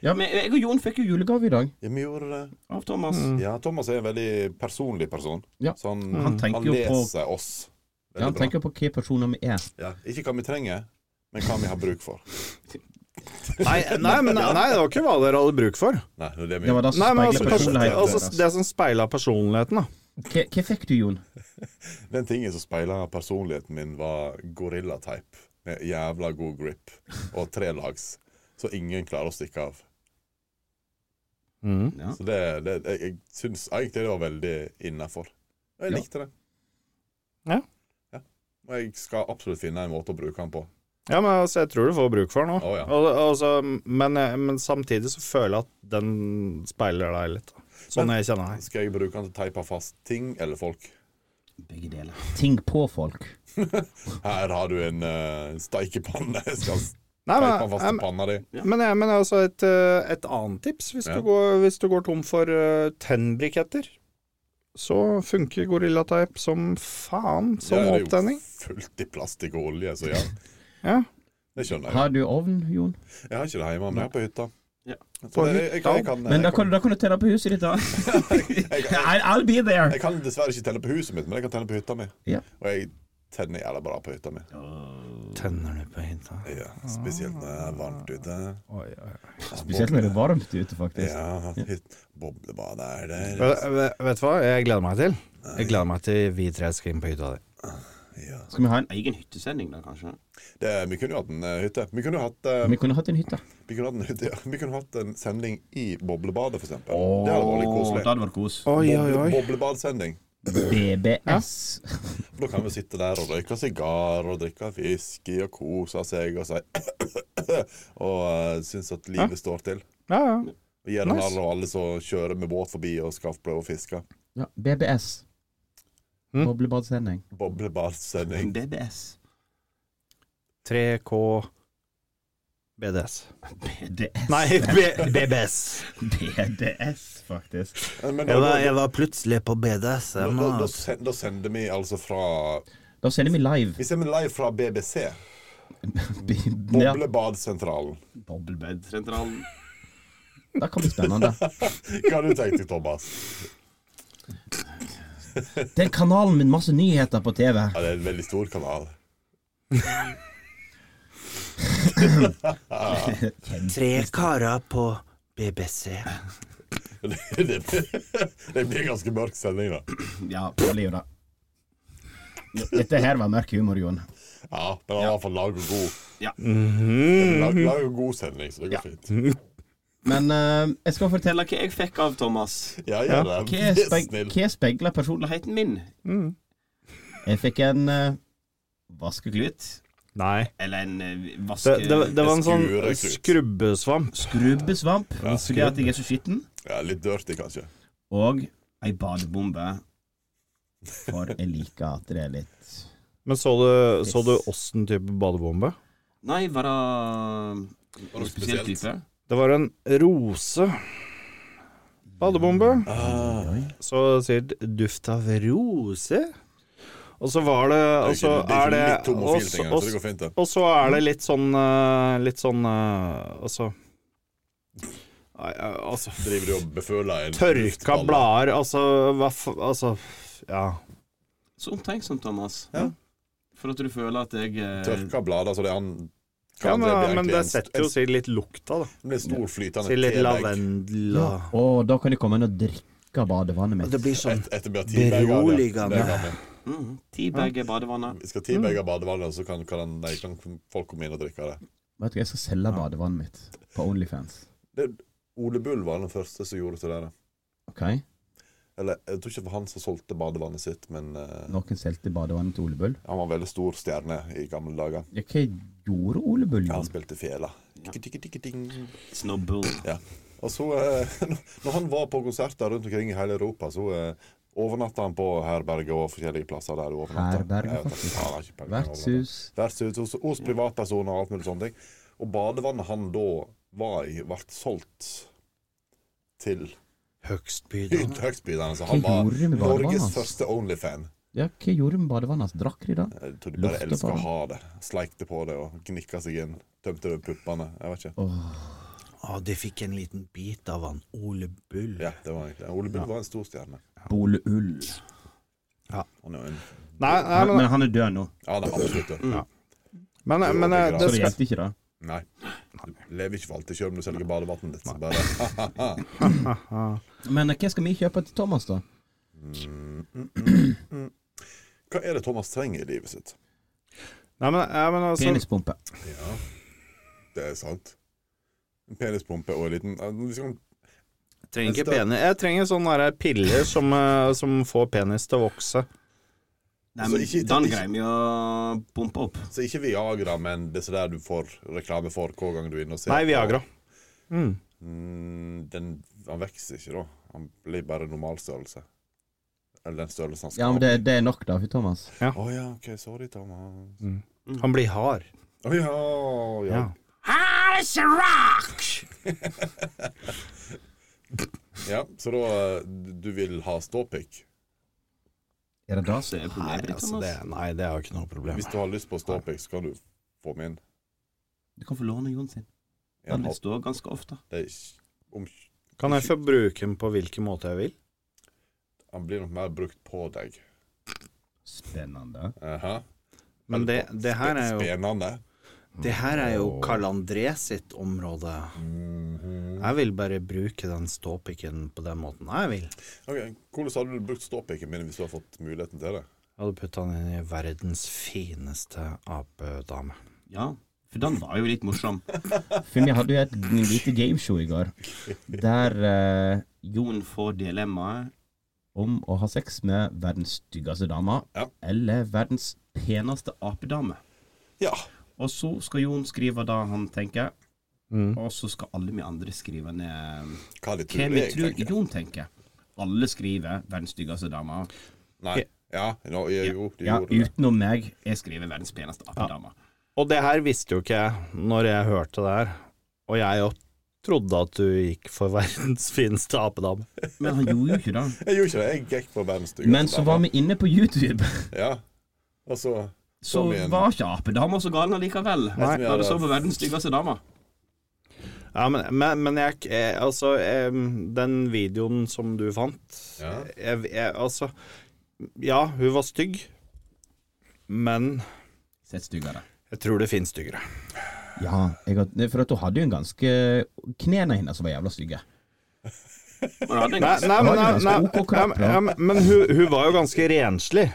E: Ja, men jeg og Jon fikk jo julegave i dag
C: Ja, vi gjorde det.
E: av Thomas.
C: Ja, Thomas er en veldig personlig person.
E: Mm. Ja.
C: Så han,
E: Han
C: han,
E: tenker jo på-
C: leser oss. Veldig
E: Ja, han
C: bra.
E: tenker på hva personer vi er.
C: Ja. Ikke hva vi trenger, men hva vi har bruk for.
D: Nei, nei, men, nei, det var ikke hva dere hadde bruk for.
C: Nei, det er det vi
E: Det var det som
D: Nei, men
E: speiler
D: altså, pers
E: personligheten
D: altså
E: deres.
D: Det som speila personligheten, da.
E: Hva, hva fikk du, Jon?
C: Den tingen som speiler personligheten min, var gorillatype. Med jævla god grip og trelags. Så ingen klarer å stikke av.
E: Ja.
C: Så det, det, jeg, jeg syns egentlig det var veldig innafor. Og jeg
E: Ja.
C: likte det.
D: Ja.
C: Ja. Og jeg skal absolutt finne en måte å bruke den på.
D: Ja, men altså, jeg tror du får bruk for den nå.
C: Å, ja.
D: Og- altså, men, jeg- men samtidig så føler jeg at den speiler deg litt. da. Sånn jeg kjenner deg.
C: Skal jeg bruke den til å teipe fast ting eller folk?
E: Begge deler. Ting på folk.
C: Her har du en eh, steikepanne. Jeg skal
D: Nei,
C: teipe den
D: men,
C: fast
D: jeg,
C: til panna di.
D: Men, jeg- men altså et, eh, et annet tips hvis,
C: Ja.
D: du går, hvis du går tom for eh, tennbriketter, så funker gorillateip som faen som
C: Ja, det er jo
D: opptenning.
C: fullt i plastikk og olje, så ja.
D: Ja.
C: Det skjønner jeg.
E: Har du ovn, Jon?
C: Jeg har ikke det hjemme, men jeg er på hytta.
B: Ja.
C: Så
D: På
C: det- jeg, jeg, jeg, kan, eh,
E: Men da kan,
C: jeg, kan,
E: du- da kan du telle på huset ditt, da. I'll, I'll be there.
C: jeg kan dessverre ikke tenne på huset mitt, men jeg kan tenne på hytta mi.
E: Ja.
C: Og jeg tenner jævla bra på hytta mi.
D: Tenner du på hytta?
C: Ja, spesielt når det er varmt ute.
D: Oi, oi, oi.
E: Spesielt når det er varmt ute, faktisk.
C: Ja, hit- boblebad er der.
D: Vet, vet- vet du hva jeg gleder meg til? Jeg gleder meg til vi tre skal inn på hytta di.
C: Ja.
E: Skal vi ha en
B: Egen hyttesending, da, kanskje?
C: Det, vi kunne jo hatt en eh, hytte. Vi kunne jo hatt, eh,
E: Vi kunne hatt en hytte.
C: vi kunne hatt en hytte, ja. Vi kunne hatt en sending i boblebadet, for eksempel. det hadde vært litt
E: Åh,
C: koselig.
E: da hadde vært kos.
D: Oi, oi,
C: Boble,
D: oi.
C: boblebadsending.
E: BBS.
C: Da kan vi sitte der og røyke sigar og drikke whisky og kose seg og si Og eh, synes at livet står til.
D: Ja, ja.
C: Og gir den
D: Nice.
C: alle og alle som kjører med båt forbi og skal prøve å fiske.
E: Ja, BBS.
D: Mm.
E: Boblebadsending.
C: Boblebadsending.
B: BBS.
D: 3K BDS.
E: BDS.
D: Nei, B BBS.
E: BDS, faktisk.
C: Men da,
D: Mm. Jeg
C: da,
D: var, jeg var plutselig på BDS.
C: da,
D: jeg
C: da,
D: må-
C: da, send- da sender vi altså fra
E: Da sender vi live.
C: Vi sender live fra BBC.
E: Ja,
C: Boblebadsentralen.
B: Boblebadsentralen.
E: det kan bli spennende.
C: Hva har du tenkt deg, Thomas?
E: Den kanalen med masse nyheter på TV.
C: Ja, det er en veldig stor kanal.
D: Tre karer på BBC.
C: Det, det, det blir ganske mørk sending, da.
E: Ja, det blir jo det. Dette her var mørk humor, Jon.
C: Ja, men han var i hvert fall lag og god. Mhm.
B: Ja.
C: Lag, lag og god sending, så det går fint.
E: Men eh, jeg skal fortelle
B: Eller hva jeg fikk av Thomas.
C: Ja, gjør det.
E: hva
C: Vær
E: speg-
C: snill. Mm.
E: hva speiler personligheten.
B: Personligheten min.
E: Jeg fikk en eh, vaskeklut.
D: Nei.
B: Eller en eh, vaske...
D: Det, det, det var en sånn
C: Skure,
D: skrubbesvamp.
E: Skrubbesvamp, fordi at jeg er så skitten.
C: Ja, litt dirty, kanskje.
E: Og ei badebombe. For jeg liker at det er litt
D: Men så du, så du åssen type badebombe?
B: Nei, var det
C: Var det
B: spesiell
C: spesielt?
B: type?
D: Det var en rose badebombe.
C: Ah.
D: Så sier det 'duft av rose'. Og så var det
C: Det er
D: Og
C: ikke,
D: så
C: det er
D: Altså, er
C: ikke
D: det
C: litt
D: og
C: homofil
D: så-
C: ting, her,
D: og
C: så det
D: så-
C: går fint, det.
D: og så er det litt sånn eh, Litt sånn eh, Altså Nei, eh, Altså
C: Driver du og beføler en
D: Tørka
C: luftball?
D: blader, altså Hva f... Altså Ja.
B: Så omtenksom, Thomas.
C: Ja.
B: For at du føler at jeg eh,
C: Tørka blader, så det er han
D: ja
C: kan det
D: men,
C: bli
D: men
C: egentlig
D: det
C: en-
D: setter jo
C: en-
D: sikkert litt lukta, da.
C: en stor flytende
D: Sikkert litt
C: tebag.
D: lavendel
E: ja.
D: og
E: Og da kan jeg komme inn og drikke badevannet mitt.
D: Det blir sånn
C: Et- Etter vi har teabaga det. det
D: Beroligende.
C: er gammel.
B: mm, Ti bag i badevannet.
C: Vi skal
D: Mm.
C: teabage badevannet, så kan, kan, han- nei, kan folk komme inn og drikke det.
E: Vet du hva, jeg skal selge badevannet mitt på Onlyfans.
C: det. Ole Bull var den første som gjorde til det. der.
E: Ok?
C: Eller jeg tror ikke det var han som solgte badevannet sitt, men eh,
E: Noen solgte badevannet til Ole Bull.
C: han var en veldig stor stjerne i gamle dager.
E: Ja, hva gjorde Ole Bull?
C: Ja, han
E: Jon?
C: spilte fela. Tikki, tikki, tikki, ting.
B: Snobbull.
C: Ja. Og så, eh, når han var på konserter rundt omkring i hele Europa, så eh, overnatta han på herberger og forskjellige plasser der. du overnatter.
E: Herberger,
C: Jeg vet
E: faktisk.
C: ikke, han har ikke peiling på å overnatte.
E: Vertshus.
C: Vertshus hos, hos privatpersoner og alt mulig sånne ting. Og badevannet han da var i, ble solgt til
D: Høgstbydende.
C: høystbydende. Så
E: Hva
C: han var
E: gjorde du med badevannet
C: Norges
E: hans?
C: første Onlyfan.
E: Ja, hva gjorde du med badevannet? hans? Drakk de det?
C: Jeg tror de bare
E: Lukta på
C: elsker å
E: det.
C: ha det. Sleikte på det og gnikka seg inn. Tømte over puppene. Jeg vet ikke.
D: Å, de fikk en liten bit av han Ole Bull.
C: Ja, det var egentlig Ole Bull var en stor stjerne.
E: Ole Ull.
C: Han er jo en
D: Nei, nei,
E: Han,
D: men,
E: men han er død nå,
C: Ja, det er absolutt det.
D: men, men, eh,
E: så
D: det
E: det
D: skal
E: hjelpte ikke det.
C: Nei. Du lever ikke for alltid selv om du selger badevannet ditt. Så bare Ah,
E: Men eh, hva skal vi kjøpe til Thomas, da?
C: Hva er det Thomas trenger i livet sitt?
D: Nei, men, ja, men altså
E: Penispumpe.
C: Ja, det er sant. En penispumpe og en liten ja, vi skal-
D: trenger ikke
C: Neste.
D: penis. Jeg trenger sånne der piller som, eh, som får penis til å vokse.
B: Nei,
C: Så
B: men
C: ikke-
B: den
C: ikke-
B: greier vi å pumpe opp.
C: Så ikke Viagra, men det er så der du får reklame for hver gang du er inne og ser
D: Nei,
C: på-
D: Viagra. Mm.
C: Mm, den, han vokser ikke, da. Han blir bare normalstørrelse. Eller den størrelsen han skal
E: Ja, men det, det er nok, da, for Thomas.
C: ha. Å ja, OK. Sorry, Thomas.
D: Mm. Han blir hard.
C: Å ja, ja.
D: Ja.
C: ja. Så da eh, Du vil ha ståpikk?
E: Er det det?
B: Det er
D: Nei,
B: problemet ditt,
D: altså, det,
B: Thomas.
D: nei, det er jo ikke noe problem.
C: Hvis du har lyst på ståpikk, så kan du få meg inn.
B: Du kan få låne Jon sin. Den
C: En
B: vil
C: halv-
B: stå ganske ofte.
C: Det er ikke, om,
D: Kan jeg få bruke den på hvilken måte jeg vil?
C: han blir nok mer brukt på deg.
E: Spennende.
C: Aha.
D: Men det, det her er jo
C: Spennende.
D: Det her er jo Karl André sitt område.
C: Mhm.
D: Jeg vil bare bruke den ståpikken på den måten jeg vil.
C: Ok, Hvordan hadde du brukt ståpikken min hvis du hadde fått muligheten til det?
D: Jeg hadde putta den inn i verdens fineste apedame.
B: Ja, for den var jo litt morsom.
E: For vi hadde jo et lite gameshow i går, der eh,
B: Jon får dilemmaet.
E: om å ha sex med verdens styggeste dame
C: Ja.
E: eller verdens peneste apedame.
C: Ja.
E: Og så skal Jon skrive det han tenker,
B: Og så skal alle vi andre skrive ned eh,
C: Hva de
B: hva
C: tror
B: vi
C: jeg
B: tror
C: tenker.
B: Jon tenker. Alle skriver 'verdens styggeste dame'.
C: Nei. Ja, no, jo, de
B: Ja,
C: gjorde det.
B: utenom meg. Jeg skriver 'verdens peneste apedame'.
D: Og det her visste jo ikke jeg når jeg hørte det her. Og jeg jo trodde at du gikk for verdens fineste apedame.
B: Men han gjorde jo ikke det.
C: Jeg gjorde ikke det. Jeg gikk på verdens styggeste
B: Men så var vi inne på YouTube,
C: Ja. Og så
B: så var ikke apedama så galen allikevel.
C: Nei.
B: Når det så på 'verdens styggeste dame'.
D: Ja, men, men, men jeg, jeg Altså, eh, den videoen som du fant
C: ja.
D: jeg, jeg, Altså Ja, hun var stygg, men
B: Sett styggere.
D: jeg tror det finnes styggere.
E: Ja, jeg, har- det er for at hun hadde jo en ganske Knærne hennes som var jævla stygge.
B: Men han hadde en
D: Nei,
B: ganske-
D: nei, men, nei,
E: Det var
D: nei,
E: en ganske ok
D: ja,
E: kropp,
D: men- ja, men- men hun, hun var jo ganske renslig.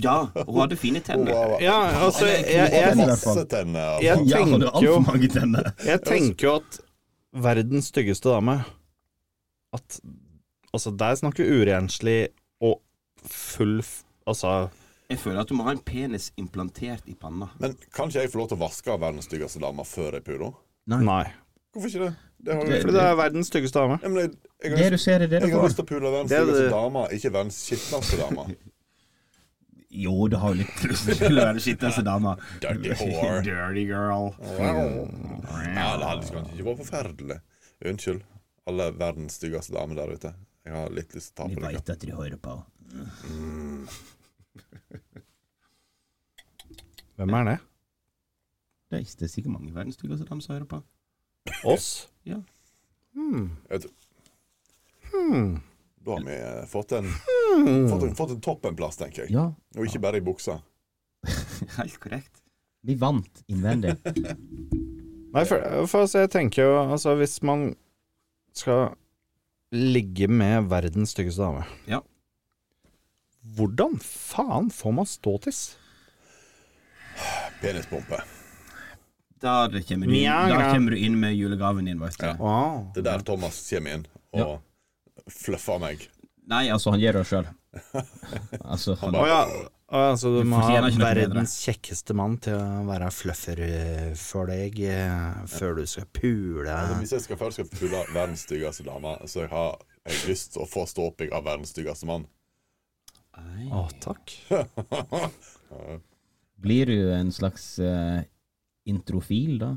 B: Ja, og hun hadde fine tenner.
C: Wow.
D: Ja, altså Jeg, jeg,
E: i
D: jeg,
E: hvert fall.
C: Masse tenner.
D: jeg
C: altså.
E: Ja, hun hadde
D: tenker jo
E: altfor mange tenner.
D: Jeg tenker jo at verdens styggeste dame At Altså, der snakker vi urenslig og full f- Altså
B: Jeg føler at du må ha en penis implantert i panna.
C: Men kan ikke jeg få lov til å vaske av verdens styggeste dame før jeg puler?
D: Nei.
C: Hvorfor ikke det? det har jo...
E: Det-
D: Fordi det er verdens styggeste dame.
C: Nei, men jeg, jeg,
E: Det
C: har
E: du
C: lyst,
E: ser, er det du
C: jeg har
E: får.
C: lyst til å pule verdens
D: Det er
C: styggeste
D: det-
C: dame, ikke verdens skitneste dame.
E: Jo, du har jo litt lyst til å være den skitneste dama.
C: Dirty whore.
E: Dirty girl.
C: Ja, det hadde kanskje ikke vært forferdelig. Unnskyld, alle verdens styggeste damer der ute. Jeg har litt lyst til å
E: Vi
C: ta på dere.
E: veit at de hører på.
D: Hvem er det?
E: Det er det er sikkert mange.
B: Mange verdens styggeste damer som hører på.
D: Oss?
B: Ja.
C: Jeg tror-
D: Hmm.
C: Da har vi eh, fått en, fått en, fått en toppenplass, tenker jeg.
E: Ja,
C: Og ikke bare i buksa.
B: Helt korrekt.
E: vi vant innvendig.
D: Nei, for, for altså, jeg tenker jo Altså, hvis man skal ligge med verdens styggeste dame
B: Ja.
D: Hvordan faen får man ståtiss?
C: Penispumpe.
B: Da kommer du,
D: Mjau,
B: da
D: mjau.
B: kommer du inn med julegaven din, vet du.
D: Wow.
C: Det er der Thomas kommer inn og fluffer meg.
E: Nei, altså, han gjør det sjøl. Altså, han,
D: Å ja. Å ja, så du
E: Du
D: må ha
E: fortjener ikke noe bedre.
D: verdens kjekkeste mann til å være fluffer eh, for deg eh, før du skal pule
C: Altså, hvis jeg skal først skal pule verdens styggeste dame, så jeg har jeg lyst til å få ståpikk av verdens styggeste mann.
B: Nei.
D: Å, takk.
E: blir du en slags eh, introfil, da?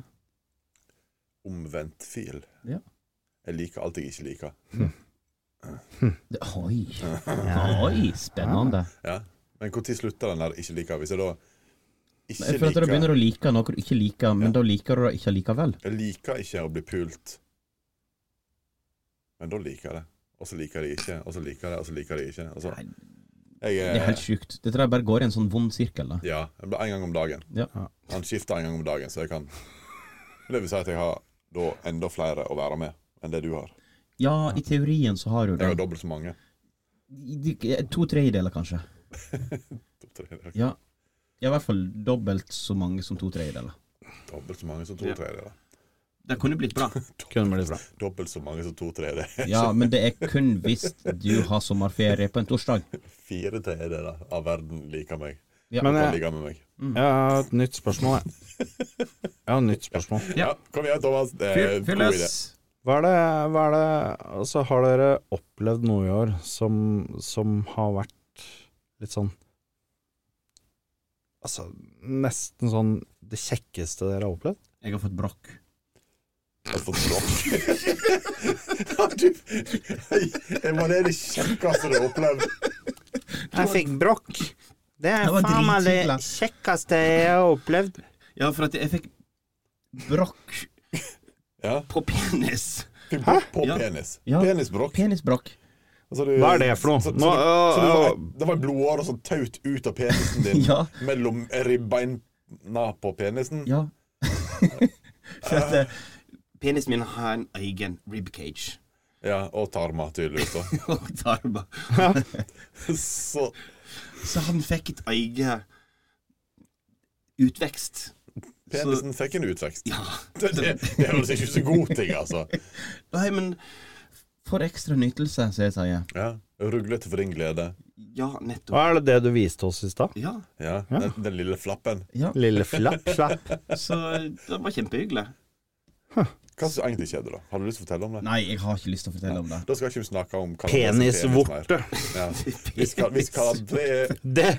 C: Omvendt fil.
E: Ja.
C: Jeg liker alt jeg ikke liker.
E: Det, oi. oi, spennende.
C: Ja. Men når slutter den der ikke liker? Hvis jeg da ikke
E: Jeg føler at du
C: liker
E: begynner å like noe du ikke liker, men
C: Ja.
E: da liker du det ikke likevel.
C: Jeg liker ikke å bli pult. Men da liker jeg det. Og så liker jeg det ikke, og så liker jeg det, og så liker jeg det ikke. Og så.
E: Nei,
C: Jeg,
E: Det er helt
C: eh,
E: sjukt. Dette der bare går i en sånn vond sirkel, da.
C: ja, jeg blir en gang om dagen.
E: Ja.
C: Han skifter en gang om dagen, så jeg kan Det vil si at jeg har da enda flere å være med enn det du har.
E: ja, i teorien så har du
C: Jeg har
E: det.
C: dobbelt så mange.
E: I- To tredjedeler, kanskje. Ja. ja, i hvert fall dobbelt så mange som to tredjedeler.
C: Dobbelt så mange som to
B: Ja.
C: tredjedeler.
B: Det kunne blitt bra.
D: Kunne blitt bra.
C: Dobbelt så mange som to tredjedeler.
E: Ja, men det er kun hvis du har sommerferie på en torsdag.
C: Fire tredjedeler av verden liker meg.
D: Men eh,
C: Kan
D: jeg,
C: ligge med meg.
D: jeg har et nytt spørsmål, jeg. Jeg har et nytt spørsmål.
B: Ja.
C: Ja, kom igjen, Thomas. Det
D: eh,
C: er en
B: Fyr
C: god idé.
B: løs.
D: Hva er det, hva er det Altså, har dere opplevd noe i år som, som har vært litt sånn Altså, nesten sånn det kjekkeste dere har opplevd?
B: Jeg har fått brokk.
C: Jeg har fått sjokk. Ja, du- Hei, Det var det det kjekkeste du har opplevd.
D: Jeg fikk brokk. Det er
E: Det var faen meg det dritkjedelig.
D: kjekkeste jeg har opplevd.
B: Ja, for at jeg fikk brokk
C: Ja.
B: på penis.
C: Fikk brokk på
B: Ja.
C: penis.
E: Ja.
C: Penisbrokk.
E: Penisbrokk.
C: Altså, du-
D: Hva er det for noe?
C: Så, så,
D: Nå,
C: så,
D: øh,
C: så det, var,
D: øh.
C: det var en blodåre som taut ut av penisen din
E: Ja.
C: mellom ribbeina på penisen?
E: Ja. For at eh,
B: Penisen min har en egen ribcage.
C: Ja, og tarma, tydeligvis. da.
B: Og tarma.
C: Så
B: Så han fikk et eget utvekst.
C: penisen fikk en utvekst.
B: Ja.
C: Det, det, det høres ikke ut som god ting, altså.
B: Nei, men
E: For ekstra nytelse, som jeg sier.
C: Ja. Ruglete for din glede.
B: Ja, nettopp.
D: Hva er det det du viste oss i stad?
B: Ja,
C: Ja, Den, den lille flappen.
E: Ja,
D: Lille flapp, flapp.
B: så det var kjempehyggelig.
C: Hva syns du egentlig skjedde, da? Har du lyst til å fortelle om det?
E: Nei, jeg har ikke lyst til å fortelle om det.
C: Da skal ikke vi snakke om hva
D: Penisvorte.
C: Ja. Vi skal, vi skal det
D: Det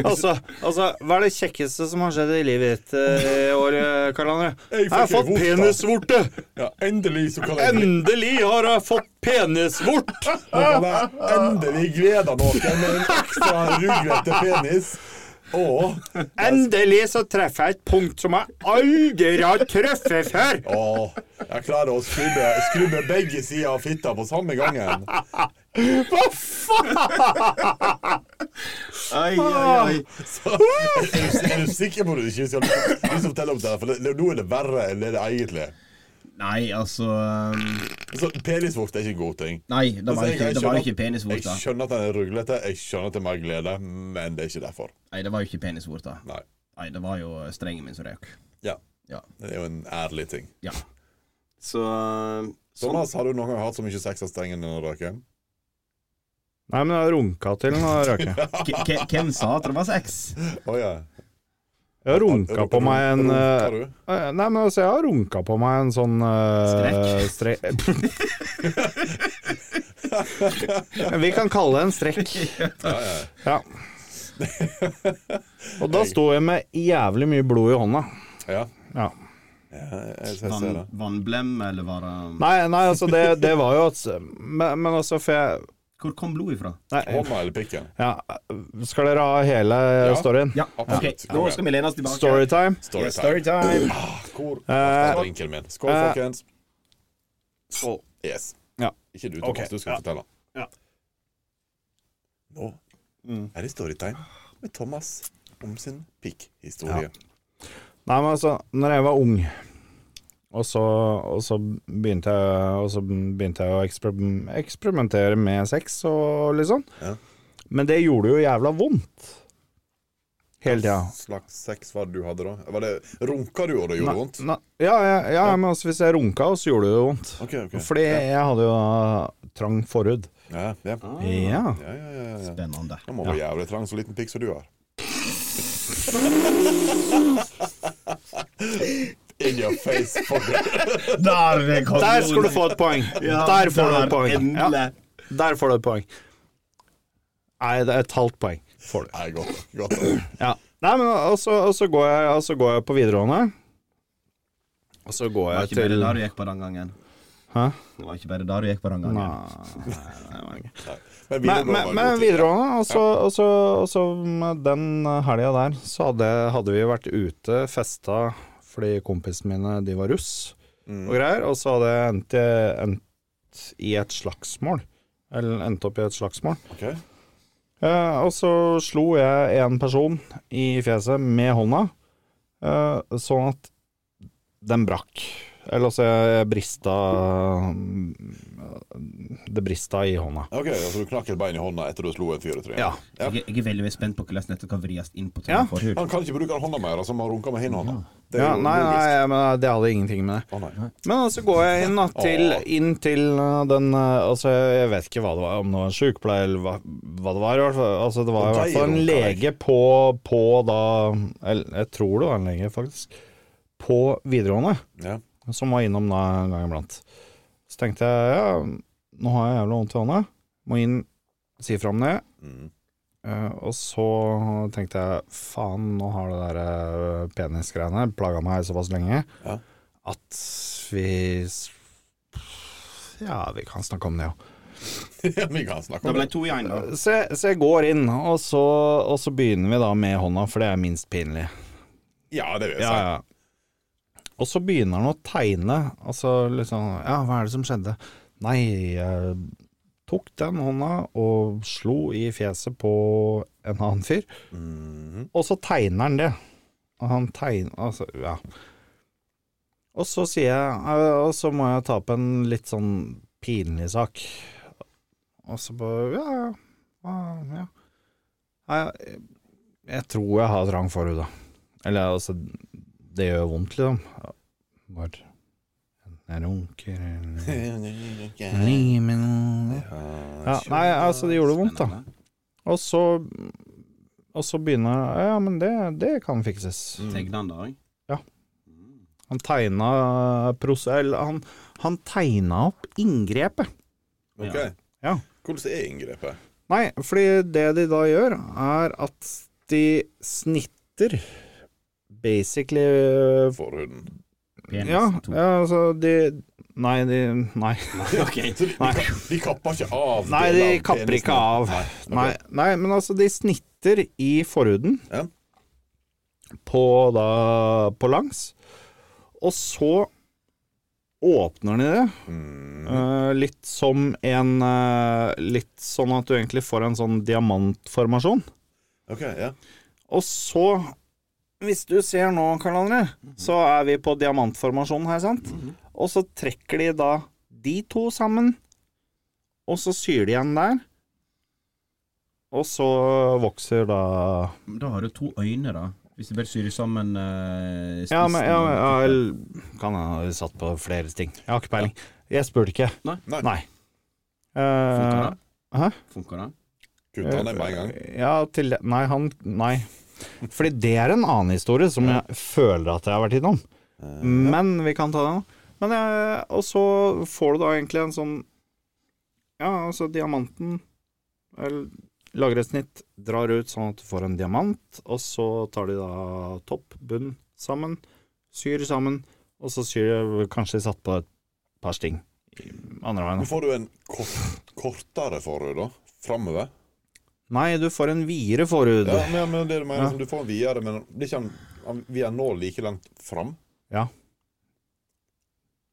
D: altså, altså, hva er det kjekkeste som har skjedd i livet ditt eh, i år, eh, Karl André?
C: Jeg fikk
D: Jeg har fått
C: en
D: penisvorte!
C: ja, Endelig så kan jeg
D: Endelig har jeg fått penisvort!
C: Nå kan jeg endelig glede noen med en ekstra ruglete penis. Og
D: Endelig så treffer jeg et punkt som jeg aldri har truffet før!
C: Åh, jeg klarer å skrubbe, skrubbe begge sider av fitta på samme gangen.
D: Hva faen?
B: Ai, ai, ai.
C: Så, er, du, er du sikker på at du ikke skal liksom fortelle om det? her? For det, nå er det verre enn det er egentlig.
E: Nei, altså um,
C: Så Penisvorte er ikke en god ting.
E: Nei, det var
C: Altså, jeg-
E: ikke,
C: jeg
E: det var
C: skjønner
E: ikke
C: at-
E: penisvorta.
C: Jeg skjønner at den er ruglete, jeg skjønner at det er mer glede, men det er ikke derfor.
E: Nei, det var jo ikke penisvorta.
C: Nei.
E: Nei, det var jo strengen min som røk.
C: Ja.
E: Ja.
C: Det er jo en ærlig ting.
E: ja.
B: Så sånn.
C: Thomas, har du noen gang hatt så mye sex av strengen din å røyke?
D: Nei, men jeg har runka til nå, Røke.
E: K k- hvem sa at det var sex?
C: Å ja.
D: Jeg har runka på meg en
C: Runka
D: eh,
C: du?
D: eh, Nei, men altså, jeg har runka på meg en sånn eh, Strekk? Vi kan kalle det en strekk. Ja. Og da sto jeg med jævlig mye blod i hånda.
C: Ja.
D: Ja.
C: ja jeg, jeg ser
E: Vann,
C: det.
E: vannblemme, eller var det
D: Nei, nei, altså, det, det var jo at Men, men altså, for jeg
E: Hvor kom blodet ifra?
D: Nei,
C: Hånda eller pikken?
D: ja, skal dere ha hele storyen?
E: Ja, ok,
C: absolutt.
E: nå skal vi lene oss tilbake.
D: Storytime.
C: Storytime.
E: Storytime.
C: Hvor
D: Eh,
C: er drinken min? Skål,
D: eh,
C: folkens. Yes.
D: Ja.
C: Ikke du, Thomas.
D: Ok,
C: Du skal
D: ja.
C: fortelle.
D: Ja.
C: Nå er det storytime med Thomas om sin pikkhistorie.
D: Nei, men altså, når jeg var ung, og så, og så, begynte, jeg, og så begynte jeg å eksper- eksperimentere med sex og litt sånn.
C: Ja.
D: Men det gjorde jo jævla vondt. Hele tida.
C: slags sex var det du hadde da? Var det, runka du, og det gjorde vondt?
D: Nei, ja, ja, ja, men altså, hvis jeg runka, så gjorde det vondt.
C: Ok, ok.
D: Fordi jeg hadde jo da trang forhud.
C: Ja, ja.
D: Ja.
C: Ja, ja, ja, ja.
E: Spennende.
C: Nå må du være jævlig trang så liten pikk som du har. In your face, fucker.
E: Der kom
D: Der skal du få et poeng! Der får du et poeng. Ja,
B: Endelig.
D: der får du et poeng. Nei, det er et halvt poeng. Får du.
C: Nei, godt. godt. Ja,
D: Ja. Nei, men og så, og så, går, jeg, og så går jeg på videregående. Og så
E: Det
D: går
E: var
D: jeg
E: ikke bare
D: til
E: der du gikk på den gangen.
D: Hæ?
E: Det var ikke bare der du gikk på den gangen.
C: Men videregående var
D: Men, men, men
C: god tid.
D: videregående, og så, og så, og så med den helga der, så hadde, hadde vi vært ute, festa fordi kompisene mine de var russ
E: Mm.
D: og greier, og så hadde jeg endt, i- endt i et slagsmål. Eller endt opp i et slagsmål.
C: Ok.
D: Eh, og så slo jeg en person i fjeset med hånda, eh, sånn at den brakk. Eller altså, jeg, jeg brista eh, Det brista i hånda.
C: Ok, altså du knakk et bein i hånda etter du slo en fyr i trynet? Ja.
E: Jeg, jeg er veldig spent på hvordan dette kan vris inn på
D: Ja.
E: trynet forhud.
C: Han kan ikke bruke den hånda mer, altså man runker med hinhånda. Det er
D: Ja,
C: jo
D: nei, nei,
C: logisk.
D: men eh, det hadde ingenting med det.
C: Å, nei.
D: Men så går jeg inn da, til,
C: Åh.
D: inn til eh, den eh, Altså, jeg vet ikke hva det var, om det var en sykepleier eller hva, hva det var. i hvert fall. Altså, det
C: Og
D: var i hvert fall en
C: deg, Ronkar.
D: lege på, på da Eller jeg tror det var en lege, faktisk. På videregående.
C: Ja.
D: som var innom da en gang iblant. Så tenkte jeg ja, nå har jeg jævla vondt i hånda, må inn, si fra om det.
C: Mm.
D: Eh, og så tenkte jeg faen, nå har det der eh, penisgreiene plaga meg såpass lenge
C: Ja.
D: at vi s- Ja, vi kan snakke om det, jo.
C: Vi kan snakke
B: Da
C: om
B: ble
C: det.
B: det to i én, da.
D: Så, jeg- så jeg går inn, og så, og så begynner vi da med hånda, for det er minst pinlig.
C: Ja, det vil jeg
D: Ja,
C: si.
D: ja. Og så begynner han å tegne. Altså liksom Ja, hva er det som skjedde? Nei, jeg tok den hånda og slo i fjeset på en annen fyr. Og så tegner han det. Og han tegner Altså, ja. Og så sier jeg eh, Og så må jeg ta opp en litt sånn pinlig sak. Og så bare Ja, ja. ah, ja. Nei, jeg, jeg tror jeg har trang forhud, da. Eller altså Det gjør vondt, liksom. Ja, Når jeg runker eller ligger med noen ja, Nei, altså, det gjorde vondt, da. Og så
C: Mm.
D: Og så begynner jeg Ja, men det, det kan fikses.
B: Tegna han da òg?
D: Han tegna pros- eller han, han tegna opp inngrepet.
C: Ok.
D: Ja.
C: Hvordan er inngrepet?
D: Nei, fordi det de da gjør, er at de snitter basically øh,
C: Forhuden.
E: Penis,
D: Ja,
E: to.
D: ja altså de Nei, de Nei.
B: Ok.
C: Så de, de,
D: Nei.
C: kap- de kapper ikke av
D: Nei, de
C: deler av
D: kapper
C: penisen.
D: ikke av.
C: Nei, ok.
D: Nei, nei, men altså, de snitter i forhuden
C: Ja.
D: på da på langs, og så åpner de det.
C: Mm.
D: eh, litt som en eh, Litt sånn at du egentlig får en sånn diamantformasjon.
C: Ok, ja.
D: Og så, hvis du ser nå, Karl André, så er vi på diamantformasjonen her, sant? Og så trekker de da de to sammen, og så syr de igjen der. Og så vokser da
E: Da har du to øyne, da. Hvis du bare syr sammen eh, spissen
D: Ja, men ja, men- ja,
E: og-
D: eller- Kan jeg ha satt på flere ting. Jeg har ikke peiling. Jeg spurte ikke.
B: Nei.
C: Nei.
D: Nei.
B: Funker
D: Eh,
B: det?
D: hæ?
B: Funker det?
C: Kunne ta den med en gang.
D: Ja, til Nei, han Nei. Fordi det er en annen historie som jeg føler at jeg har vært innom. Men vi kan ta den. Men eh, Og så får du da egentlig en sånn Ja, altså diamanten eller, Lager et snitt, drar ut sånn at du får en diamant, og så tar de da topp, bunn sammen, syr sammen, og så syr Kanskje de satt på et par sting i andre veien.
C: Nå får du en kort, kortere forhud, da. Framover.
D: Nei, du får en videre forhud.
C: Ja, men, men det du mener,
D: Ja.
C: som du får en videre, men blir ikke han, han vi er nå like langt fram?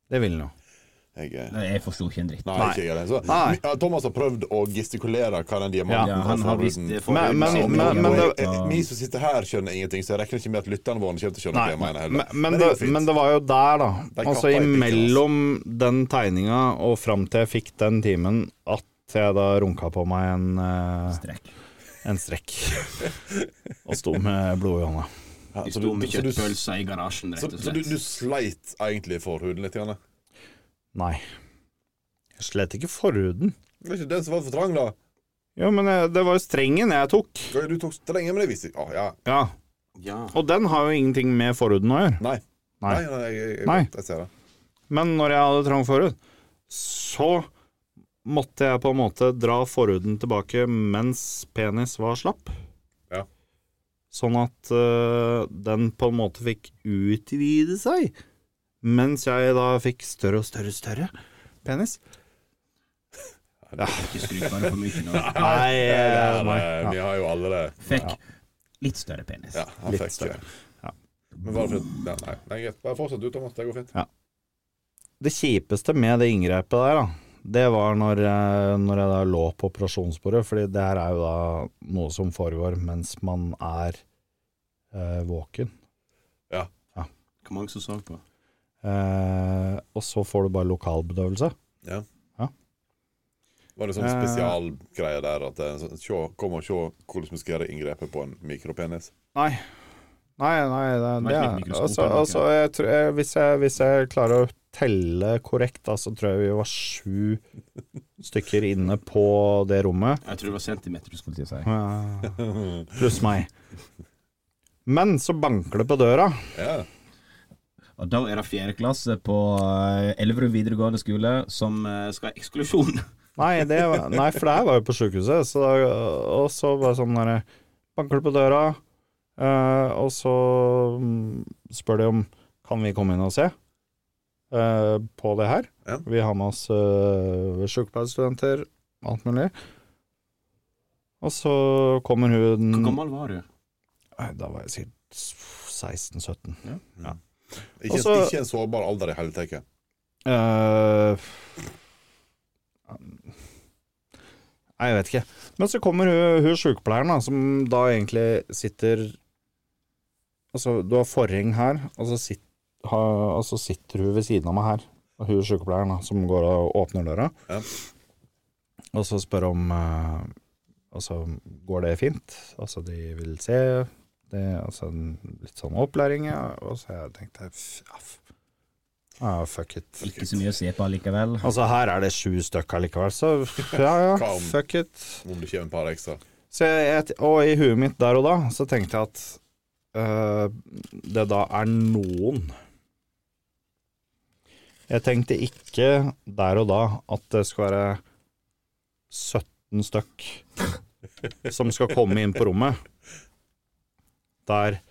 D: Det vil den jo.
C: Jeg er
E: Nei, jeg forsto ikke en dritt.
C: Nei,
D: Nei.
C: ikke jeg heller. Så,
D: Nei.
C: Ja, Thomas har prøvd å gestikulere hva den diamanten
E: Ja,
C: har
E: han har
C: forhuden.
B: Hvis det får
D: Men- men-
B: Ja,
D: men-
C: Og
D: men-
C: jeg-
D: det-
C: jeg- Vi som sitter her, skjønner ingenting, så jeg regner ikke med at lytterne våre kommer til å skjønne hva
D: Nei,
C: jeg mener heller.
D: men, men,
C: det er jo
D: det,
C: fint.
D: men det var jo der, da.
C: Den
D: Altså
C: kappa er ikke
D: imellom den tegninga og fram til jeg fikk den timen, at jeg da runka på meg en, eh,
E: Strekk.
D: en strekk. og sto med blod i hånda.
C: Ja,
B: Vi
C: så
B: sto
C: du,
B: med
C: så, du,
B: kjøttpølser i garasjen, rett
C: så,
B: og
C: så du,
B: slett.
C: du sleit egentlig forhuden litt? Janne.
D: Nei. Jeg slet ikke forhuden.
C: Det er ikke den som var for trang, da.
D: Jo, men eh, det var jo strengen jeg tok.
C: Ja, Du tok strenge, men det visste jeg. Å, ja.
D: Ja.
B: Ja.
D: Og den har jo ingenting med forhuden å gjøre.
C: Nei.
D: Nei.
C: Nei, nei, jeg, jeg, jeg,
D: Nei.
C: jeg ser det.
D: Men når jeg hadde trang forhud, så måtte jeg på en måte dra forhuden tilbake mens penis var slapp.
C: Ja.
D: Sånn at øh, den på en måte fikk utvide seg, mens jeg da fikk større og større og større penis.
B: Ikke skryt bare for mye nå.
D: Nei,
C: Ja,
D: nei,
C: det- Vi har jo alle det.
E: Fikk litt større penis.
C: Ja, han
D: Litt
C: fikk eh, det.
D: større. Ja.
C: Men var det for ja, Nei, nei greit. Bare fortsett du, Thomas. Det går fint.
D: Det kjipeste med det inngrepet der, da, det var når jeg, når jeg da lå på operasjonsbordet, fordi det her er jo da noe som foregår mens man er eh, våken.
B: Hvor mange som så på?
D: Eh, og så får du bare lokalbedøvelse.
C: Var det sånn
D: Eh.
C: spesialgreie der at eh, så- sjå, Kom og se hvordan vi skal gjøre inngrepet på en mikropenis.
D: Nei. Nei, nei, det, det
B: Det var ikke
D: er
B: mikroskop,
D: altså,
B: eller
D: altså, jeg tror, jeg, hvis, jeg, hvis jeg klarer å telle korrekt, da, så tror jeg vi var sju stykker inne på det rommet.
B: Jeg tror det var centimeter du skulle
E: Skulle jeg si.
D: Eh, Pluss meg. Men så banker det på døra.
C: Ja.
E: Og da er det fjerde klasse på eh, Elverum videregående skole som
B: Som eh, skal ha eksklusjon.
D: Nei, det var, nei for det her var jo på sjukehuset. Så da, og så bare sånn derre Banker det på døra, eh, og så mm, spør de om Kan vi komme inn og se eh, på det her.
C: Ja.
D: Vi har med oss uh, sykepleierstudenter, alt mulig. Og så kommer hun
B: Hvor gammel var du?
D: Nei, Da var jeg sikkert 16-17.
C: Ikke,
D: Og så-
C: ikke en sårbar alder i hele tatt.
D: Eh, Nei, jeg vet ikke. Men så kommer hun, hun sykepleieren, da, som da egentlig sitter Altså, du har forheng her, og så, sit, ha, og så sitter hun ved siden av meg her. Og hun sykepleieren da, som går og åpner døra.
C: Ja.
D: Og så spør om eh, Altså, går det fint? Altså, de vil se det, altså, en Litt sånn opplæring, ja. Og så jeg tenkte f- ja, f- ah, fuck it.
E: ikke så mye å se på likevel.
D: Altså, her er det sju stykker likevel, så ja, ja,
C: Calm.
D: fuck it.
C: Om det kommer et par ekstra.
D: Så jeg, og i huet mitt eh, der og da, så tenkte jeg at øh, det da er noen Jeg tenkte ikke der og da at det skal være 17 stykk som skal komme inn på rommet, der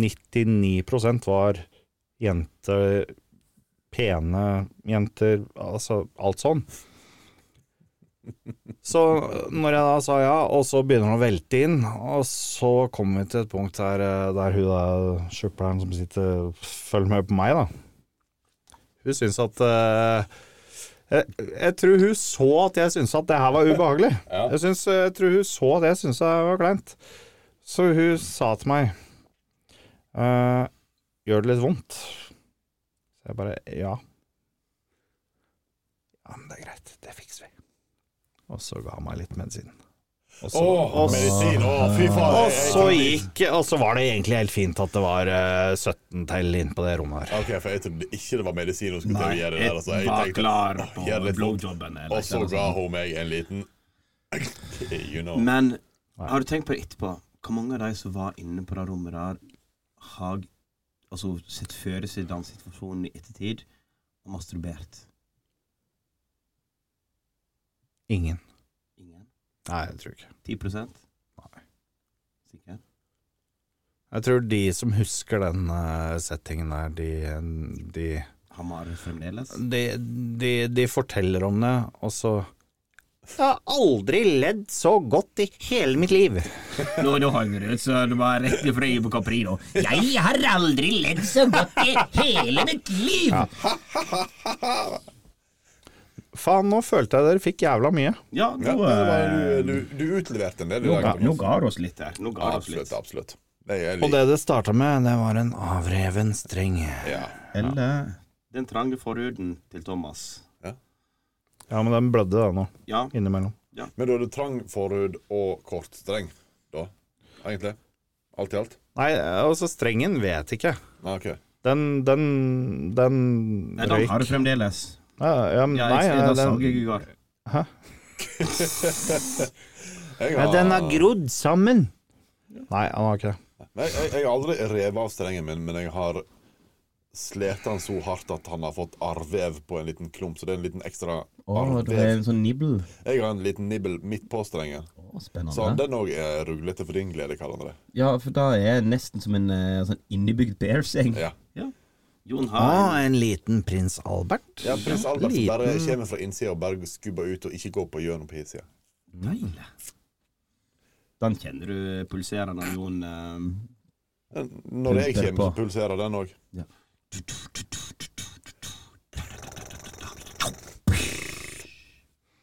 D: 99 var jenter, pene jenter, altså alt sånn. Så når jeg da sa ja, og så begynner han å velte inn, og så kommer vi til et punkt der, eh, der hun der sjukepleieren som sitter følger med på meg, da. Hun syns at eh, jeg, jeg tror hun så at jeg syntes at det her var ubehagelig. Jeg, syns- jeg tror hun så at jeg syntes det var kleint. Så hun sa til meg eh, Gjør det litt vondt? Så jeg bare Ja. Ja, men det er greit. Det fikser vi. Og så ga han meg litt medisin. Og så, og så-
C: medisin! Å, fy faen!
D: og
C: jeg- jeg-
D: så gikk Og så var det egentlig helt fint at det var eh, 17 til inne på det rommet her.
C: Ok, for jeg trodde ikke det var medisin hun skulle til å
B: Nei,
C: gjøre
B: jeg
C: der. Altså. Jeg
B: var
C: tenkte,
B: klar
C: «Åh,
B: på
C: gjør det litt vondt».
B: blowjobben. eller
C: Og så
B: noe
C: ga
B: sånt.
C: hun meg en liten You know.
B: Men har du tenkt på det etterpå? Hvor mange av de som var inne på det rommet der, har altså, sett føre seg den situasjonen i ettertid og masturbert?
D: Ingen.
B: Ingen?
D: Nei, jeg tror ikke.
B: 10
D: Nei.
B: Sikker?
D: Jeg tror de som husker den eh, settingen der, de, de,
B: Han var fremdeles?
D: de, de, de forteller om det, og så Jeg har aldri ledd så godt i hele mitt liv.
B: Nå, nå holder du, så det var rett fra Ivo Caprino. Jeg har aldri ledd så godt i hele mitt liv! Ja,
D: Faen, nå følte jeg dere fikk jævla mye.
C: Ja,
B: nå,
C: det var,
B: eh,
C: du, du, du utleverte en del i
B: nå,
C: dag.
B: ga, nå
C: Thomas.
B: ga det oss litt der. Nå ga det oss
C: Absolutt.
B: litt.
C: absolutt det er
D: Og
C: litt,
D: det det starta med, det var en avreven streng.
C: ja.
G: Eller
B: Den trange forhuden til Thomas.
D: Ja, men den blødde da nå,
B: Ja,
D: innimellom.
C: Men du hadde trang forhud og kort streng, da? Egentlig? Alt i alt?
D: Nei, altså, strengen vet ikke.
C: Ah, ok.
D: Den, den, den
B: Nei, den har du fremdeles.
D: Ja, ja, men
B: Ja,
D: nei,
B: jeg, da
D: den,
B: sag jeg i går.
C: Jeg
D: Nei,
C: har,
D: den har grodd sammen. Nei, han har ikke det.
C: Nei, jeg, jeg har aldri revet av strengen min, men jeg har slet den så hardt at han har fått arrvev på en liten klump, så det er en liten ekstra
G: Å, det er
C: arrvev.
G: en sånn nibble.
C: Jeg har en liten nibbel midt på strengen,
G: Å,
C: så
B: Sånn.
G: spennende.
C: den òg er ruglete for din glede, kaller han det.
G: Ja, for da er jeg nesten som en eh, sånn innebygd bearseng.
C: Ja.
B: Jon har
D: en liten prins Albert.
C: Ja, prins Albert som
D: liten-
C: bare kommer fra innsida og bare skubber ut og ikke går på gjennom på innsida.
B: Deilig. Den kjenner du pulserende, Jon. eh,
C: Når
G: Pulserer
C: jeg kommer, så
G: på.
C: pulserer den òg.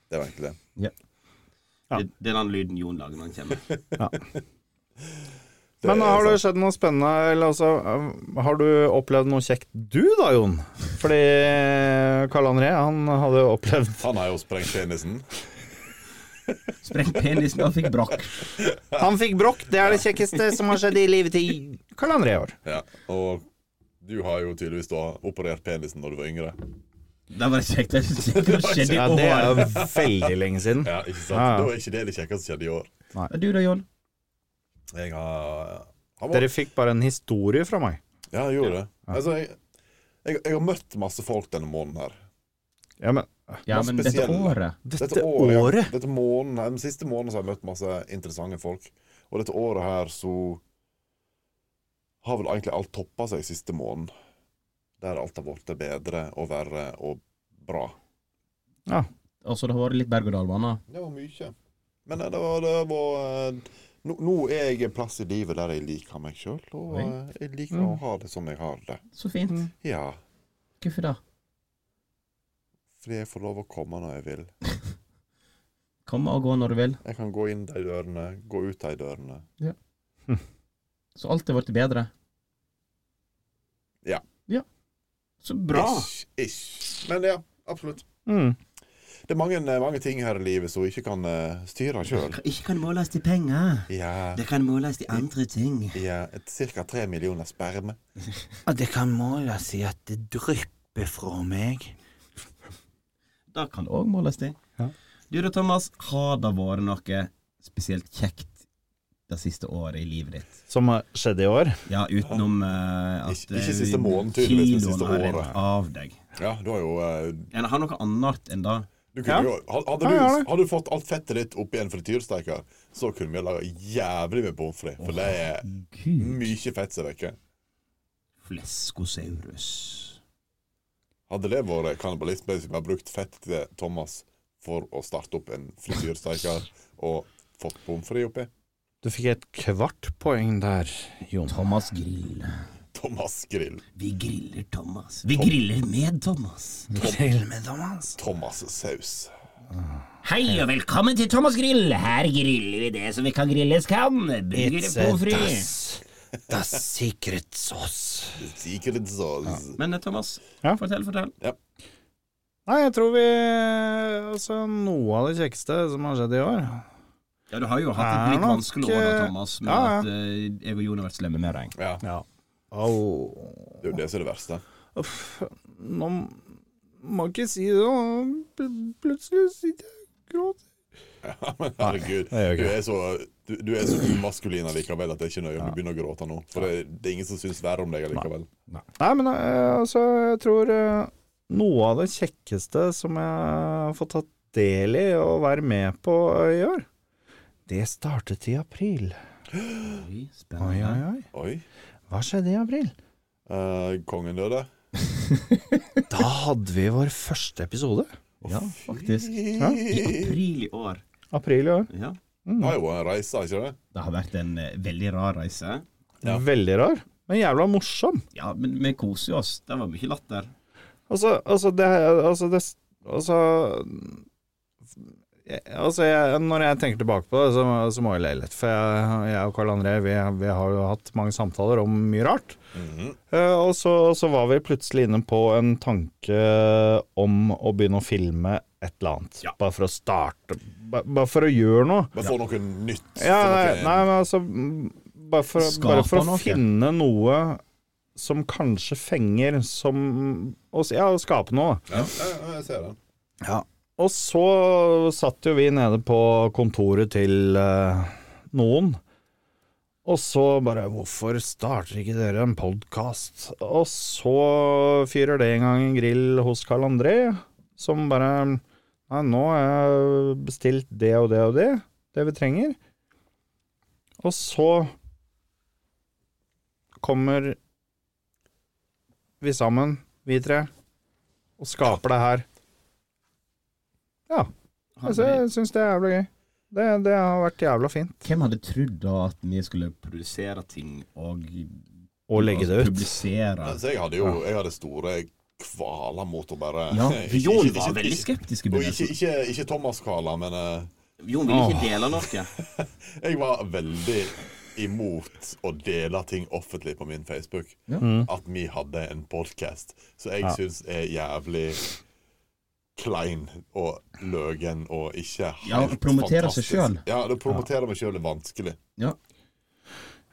C: Det var egentlig det.
D: Ja.
B: Det, det er den lyden Jon lager når han kommer.
C: Det
D: Men
C: er
D: har det
C: sant.
D: skjedd noe spennende, eller altså um, Har du opplevd noe kjekt du da, Jon? Fordi eh, Karl André, han hadde jo opplevd
C: Han har jo sprengt penisen.
G: Sprengt penisen og fikk brakk.
D: Han fikk brokk, det er det kjekkeste som har skjedd i livet til Karl André i år.
C: Ja. Og du har jo tydeligvis da operert penisen når du var yngre.
G: Det var kjekt. Det er kjekt å skjedde i
D: Ja, det er
G: år.
D: jo veldig lenge siden.
C: Ja, ikke sant?
D: Ja, ja.
C: Da er ikke det det kjekkeste som skjedde i år.
G: Og Du da, Jon?
C: Jeg har, har
D: Dere fikk bare en historie fra meg.
C: Ja, jeg gjorde det. Altså, jeg, jeg, jeg har møtt masse folk denne måneden her.
D: Ja, men
G: Ja,
C: Noe
G: men dette
C: spesielt.
G: året
D: dette
C: ja.
D: året?
C: Dette måneden, nei, den siste måneden så har jeg møtt masse interessante folk. Og dette året her så har vel egentlig alt toppa seg siste måneden. Der alt har blitt bedre og verre og bra.
G: Altså, det har vært litt berg-og-dal-bane.
C: Det var mye. Men det var, det var eh, nå, nå er jeg en plass i livet der jeg liker meg sjøl, og
G: Oi. Mm.
C: eh, jeg liker å ha det som jeg har det.
G: Så fint.
C: Ja.
G: Hvorfor det?
C: Fordi jeg får lov å komme når jeg vil.
G: Komme og gå når du vil.
C: Jeg kan gå inn de dørene, gå ut de dørene.
G: Så alt er blitt bedre.
C: Ja.
G: ja. Så bra.
C: Ish, ish. Men ja, absolutt.
D: Mm.
C: Det er mange, mange ting her i livet som ikke kan eh, styre sjøl.
B: Ikke kan måles til penger.
C: Ja,
B: Det kan måles til andre ting.
C: ja ca. tre millioner sperme.
D: Det kan måles i at det drypper fra meg.
B: Da kan
G: Kan òg måles til.
B: Du da, Thomas, har det vært noe spesielt kjekt
H: det siste året i livet ditt.
D: Som skjedde i år.
H: Ja, utenom eh, at
C: Ikke- ikke siste
H: eh,
C: måneden,
H: kiloen
C: tydeligvis, men siste
H: har rent
C: året.
H: Av deg.
C: Ja, du har jo eh,
H: En har noe annet enn det.
C: du kunne
D: Ja.
C: jo, hadde,
D: Ja, ja,
C: du,
D: det.
C: hadde du fått alt fettet ditt oppi en frityrsteker, så kunne vi ha laga jævlig med pommes frites. For det er
H: Gud.
C: mye fett som er vekke.
H: Fleskosaurus.
C: Hadde det vært kannibalisme, hvis vi hadde brukt fett til Thomas for å starte opp en frityrsteker og fått pommes frites oppi?
D: Du fikk et kvart poeng der, Jon.
H: Thomas Grill.
C: Thomas Grill.
B: Vi griller Thomas. Vi griller med Thomas.
D: altså.
C: Thomas Saus.
B: Hei og velkommen til Thomas Grill. Her griller vi det som vi kan grilles kan. Burger på fri.
D: the secret sauce.
C: Secret sauce.
B: Men eh, Thomas,
D: Ja?
B: fortell, fortell.
D: Nei, jeg tror vi Altså, noe av det kjekkeste som har skjedd i år
B: Ja, du har jo hatt et
D: Er
B: litt
D: nok,
B: vanskelig år da,
D: eh,
B: Thomas, med
D: ja, ja.
B: at eh, jeg og Jon har vært slemme med deg.
C: Ja.
D: Ja.
C: Det er jo det som er det verste.
D: Uff. Nå må jeg ikke si det, nå pl- plutselig sitter jeg og gråter.
C: Ja, men herregud,
D: det gjør
C: du
D: ikke
C: er så, du, du er så umaskulin allikevel at det er ikke nøye om du begynner å gråte nå. For det, det er ingen som syns verre om deg allikevel.
D: Nei, men eh, altså, jeg tror eh, noe av det kjekkeste som jeg får tatt del i og være med på eh, i år, det startet i april.
B: Oi,
D: Oi,
B: Spennende.
D: oi, oi.
C: Oi.
D: Hva skjedde i april?
C: Eh, kongen døde.
D: Da hadde vi vår første episode.
H: Ja, faktisk.
C: I
B: I april i år.
D: April i år.
B: Ja.
C: Det var jo en reise, ikke det?
H: Det har vært en eh, veldig rar reise.
C: Ja.
D: Veldig rar, men jævla morsom.
B: ja, men vi koser jo oss. Det var mye latter.
D: Altså, altså det Altså, det, altså, jeg, altså jeg, Når jeg tenker tilbake på det, så, så må jeg le litt. For jeg, jeg og Karl André vi, vi har jo hatt mange samtaler om mye rart. Eh, og, så, og så var vi plutselig inne på en tanke om å begynne å filme et eller annet.
B: Ja.
D: Bare for å starte. Bare, bare for å gjøre noe.
C: Bare få noe nytt.
D: Ja,
C: få
D: nei,
C: noe-
D: nei, men altså mm, Bare for, å-
H: Skape
D: bare for å
H: noe.
D: finne noe som kanskje fenger, som og s- Ja, å skape noe.
C: Ja, ja, ja, jeg ser den.
D: Og så satt jo vi nede på kontoret til eh, noen. Og så bare Hvorfor starter ikke dere en podkast? Og så fyrer det en gang en grill hos Carl André, som bare Nei, nå har jeg bestilt det og det og det. Det vi trenger. Og så kommer vi sammen, vi tre, og skaper det her. Ja. Altså, jeg syns det er jævla gøy. Det, det har vært jævla fint.
H: Hvem hadde trodd da at vi skulle
B: Produsere ting
H: og
D: Å legge det ut.
H: publisere
C: Altså, jeg hadde jo jeg hadde store kvaler mot å bare
H: Ja,
C: Ikke-
B: Jon
C: ikke-
B: var
C: ikke-
B: veldig
C: ikke-
H: skeptiske
C: Og ikke,
H: begynnelser.
C: ikke, ikke Thomas-kvaler, men eh,
B: Jon ville ikke dele noe.
C: Jeg var veldig imot å dele ting offentlig på min Facebook.
B: Mm.
C: At vi hadde en podkast. Så jeg synes syns er jævlig klein og løgen og ikke helt
H: Ja, å promotere seg
C: fantastisk.
H: selv.
C: Ja, å promotere meg sjøl er vanskelig.
H: Ja.